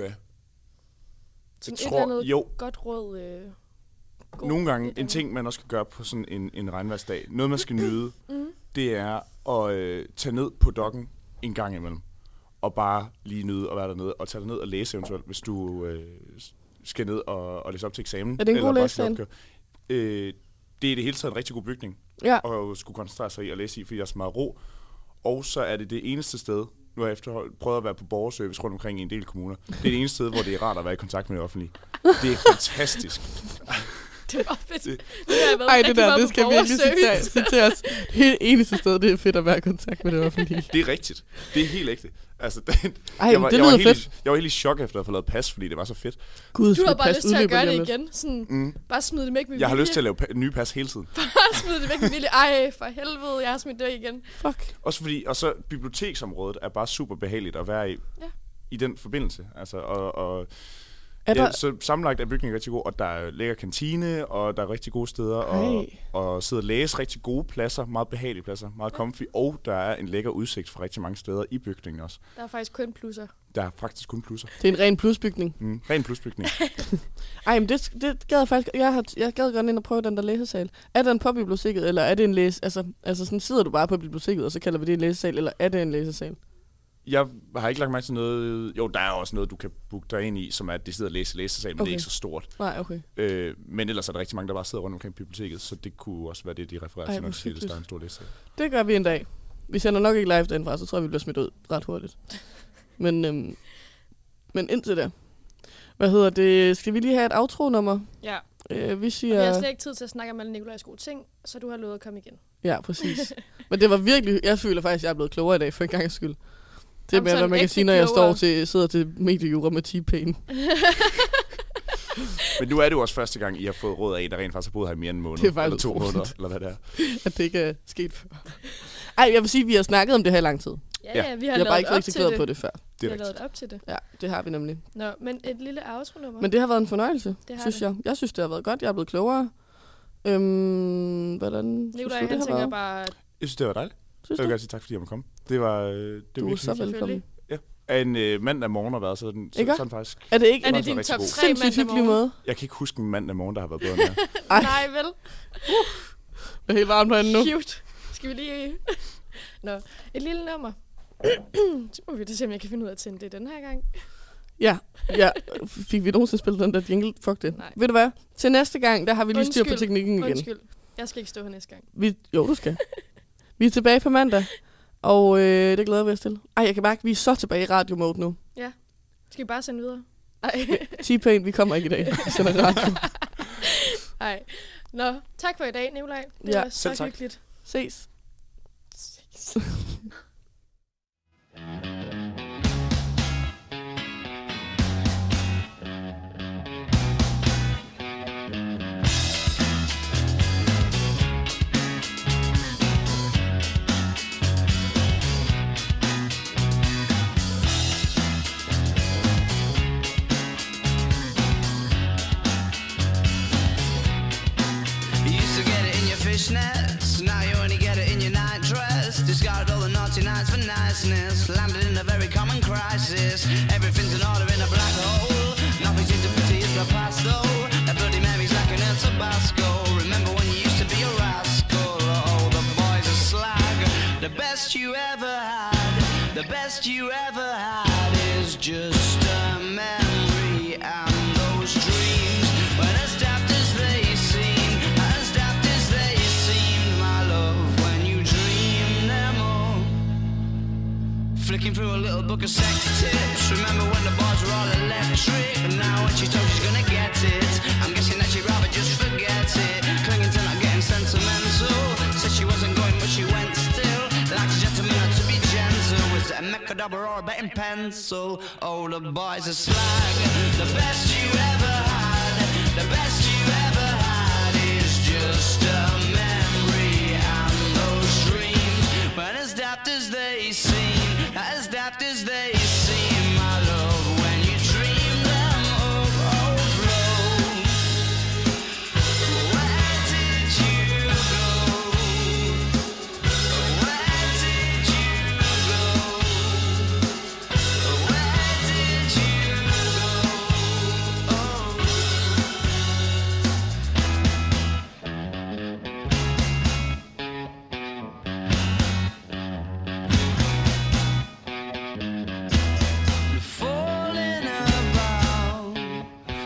B: Sådan
C: jeg
B: et eller
C: tror,
B: andet-
C: jo,
B: Godt råd. Øh, god-
C: nogle gange
B: et
C: en
B: eller
C: ting, man også kan gøre på sådan en, en regnværsdag, noget man skal nyde,
A: Mm.
C: det er at øh, tage ned på dokken en gang imellem. Og bare lige nyde at være dernede, og tage derned og læse eventuelt, hvis du øh, s- skal ned og, og læse op til eksamen.
A: Er det en god
C: bare skal
A: læsesal?
C: opgøre. øh, Det er i det hele taget en rigtig god bygning
A: Ja,
C: og skulle koncentrere sig i at læse i, fordi der er så meget ro. Og så er det det eneste sted, nu har jeg efterhånden prøvet at være på borgerservice rundt omkring i en del kommuner. Det er det eneste sted, hvor det er rart at være i kontakt med det offentlige. Det er fantastisk.
B: Det var fedt. Det har jeg været
A: Ej, det
B: rigtig
A: der,
B: meget
A: det
B: på
A: skal virkelig
B: borgerservice.
A: citeres. citeres. Det er eneste sted, det er fedt at være i kontakt med det offentlige.
C: Det er rigtigt. Det er helt ægte. Altså, det,
A: Ej,
C: jeg, var,
A: det
C: jeg, var
A: lyder
C: helt,
A: fedt.
C: i- jeg var helt i chok efter at få lavet pas, fordi det var så fedt.
A: Gud,
B: Du har
A: skal
B: bare
A: pas
B: lyst til at
A: udløber
B: gøre
A: lige
B: det
A: om lidt.
B: igen. Sådan, mm. Bare smid det væk med
C: Jeg har
B: vilje.
C: lyst til at lave pa- nye pas hele tiden.
B: Bare smid det væk med vilje. Ej, for helvede, jeg har smidt det væk igen.
A: Fuck.
C: Også fordi, og så biblioteksområdet er bare super behageligt at være i.
B: Ja.
C: I den forbindelse. Altså, og, og
A: Er der,
C: Ja, så sammenlagt er bygningen rigtig god, og der er lækker kantine, og der er rigtig gode steder og,
A: Ej.
C: og sidde og læse rigtig gode pladser, meget behagelige pladser, meget comfy, og der er en lækker udsigt fra rigtig mange steder i bygningen også.
B: Der er faktisk kun plusser.
C: Der er faktisk kun plusser.
A: det er en ren plusbygning.
C: Mm, ren plusbygning.
A: Ej, men det, det gad jeg faktisk... Jeg, har, jeg gad godt ind og prøve den der læsesal. Er den på biblioteket, eller er det en læs... Altså, altså sådan sidder du bare på biblioteket, og så kalder vi det en læsesal, eller er det en læsesal?
C: Jeg har ikke lagt mærke til noget... Jo, der er også noget, du kan booke dig ind i, som er, at det sidder og læse læsesal, men okay. det
A: Okay.
C: er ikke så stort.
A: Nej, okay.
C: Øh, men ellers er der rigtig mange, der bare sidder rundt omkring biblioteket, så det kunne også være det, de refererer
A: Ej,
C: til, når
A: hvor
C: de siger, at
A: hyggeligt.
C: der er en stor læsesal.
A: Det gør vi en dag. Vi sender nok ikke live derindfra, så tror jeg, vi bliver smidt ud ret hurtigt. Men, øhm, men indtil da. Hvad hedder det? Skal vi lige have et outro-nummer?
B: Ja.
A: Øh, vi
B: Vi har
A: siger...
B: slet ikke tid til at snakke om alle Nikolajs gode ting, så du har lovet at komme igen.
A: Ja, præcis. Men det var virkelig... Jeg føler faktisk, at jeg er blevet klogere i dag, for en gang skyld. Det er mere,
B: Jamen,
A: hvad
B: sådan
A: man kan
B: ægte
A: sige, når jeg står
B: klogere.
A: til, sidder til mediejura med t
C: Men nu er det jo også første gang, I har fået råd af en, der rent faktisk har boet her i mere end en måned.
A: Det er faktisk
C: eller to
A: utroligt.
C: måneder, eller hvad det er.
A: at det ikke er sket før. Ej, jeg vil sige, at vi har snakket om det her i lang tid.
B: Ja,
C: Ja.
B: ja, vi har
A: Jeg har
B: lavet
A: bare ikke
B: op til
A: rigtig
B: det.
A: på det før.
C: Det
B: Vi
C: er
B: har
C: rigtigt.
B: lavet op til det.
A: Ja, det har vi nemlig.
B: Nå, men et lille outro-nummer.
A: Men det har været en fornøjelse,
B: Det har
A: synes
B: det.
A: jeg. Jeg synes, det har været godt. Jeg er blevet klogere. Øhm, hvordan synes
B: Nikolaj,
A: du, det
B: han
A: har
B: tænker
A: været?
B: bare,
C: Jeg synes, det var dejligt.
A: Synes
C: Jeg vil
A: du?
C: gerne sige tak, fordi jeg måtte komme. Det var, øh, det var
A: Du er
C: virkelig
A: så
C: hyggeligt.
A: velkommen.
C: Af en øh, mandag morgen har været sådan, så,
A: Ikke?
C: sådan faktisk.
A: Er det ikke
B: er
A: en
B: det
C: det
B: din
C: rigtig
B: top
C: god.
B: 3
A: sindssygt
B: mandag
A: hyggelig
B: morgen?
A: måde?
C: Jeg kan ikke huske en mandag morgen, der har været bedre end her.
A: Ej.
B: Nej, vel?
A: Det er helt varmt herinde nu.
B: Cute. Skal vi lige... Nå, et lille nummer. så må vi da se, om jeg kan finde ud af at tænde det den her gang.
A: Ja, ja. Fik vi nogensinde spillet den der jingle? Fuck det.
B: Nej.
A: Ved du hvad? Til næste gang, der har vi lige styr på
B: Undskyld.
A: teknikken igen.
B: Undskyld. Jeg skal ikke stå her næste gang.
A: Vi, jo, du skal. vi er tilbage på mandag, og øh, det glæder vi os til. Ej, jeg kan mærke, at vi er så tilbage i radiomode nu.
B: Skal vi bare sende videre? Nej.
A: T-Pain, vi kommer ikke i dag. Vi sender radio.
B: Nej. Nå, tak for i dag, Nikolaj. Det
A: Ja,
B: var
C: selv
B: så
C: tak.
B: hyggeligt.
A: Ses.
E: You used to get it in your fishnets, now you only get it in your nightdress. Discarded all the naughty nights for niceness, landed in a very common crisis. Everything's in order in a black hole. Nothing seems to pity is the past though. That bloody memory's like an El Tabasco. Remember when you used to be a rascal? Oh, the boys are slag. The best you ever had, the best you ever had is just a memory and those dreams. When as daft as they seem, as daft as they seem, my love, when you dream them all. Flicking through a little book of sex tips. Remember when the bars were all electric? And now when she told she's gonna get it, I'm guessing that she'd rather just forget it. Clinging to not getting sentimental. Said she wasn't going, but she went still. Like a gentleman had to be gentle. Was it a mechadobber or a betting pencil? Oh, the boys are slag. The best you ever had, the best you ever had is just a memory and those dreams. But as daft as they seem, as daft as they seem, my love, when you dream them of overflow, where did you go? Where did you go? Where did you go? Oh. falling about.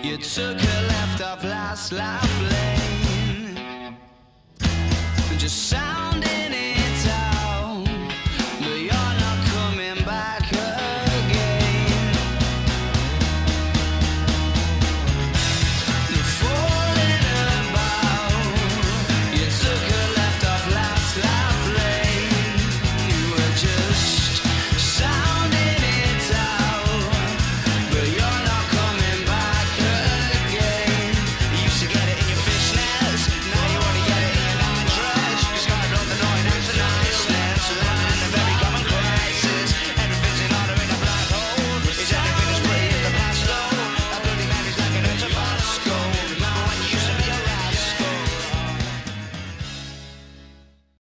E: You took a left off last life lane. Just sound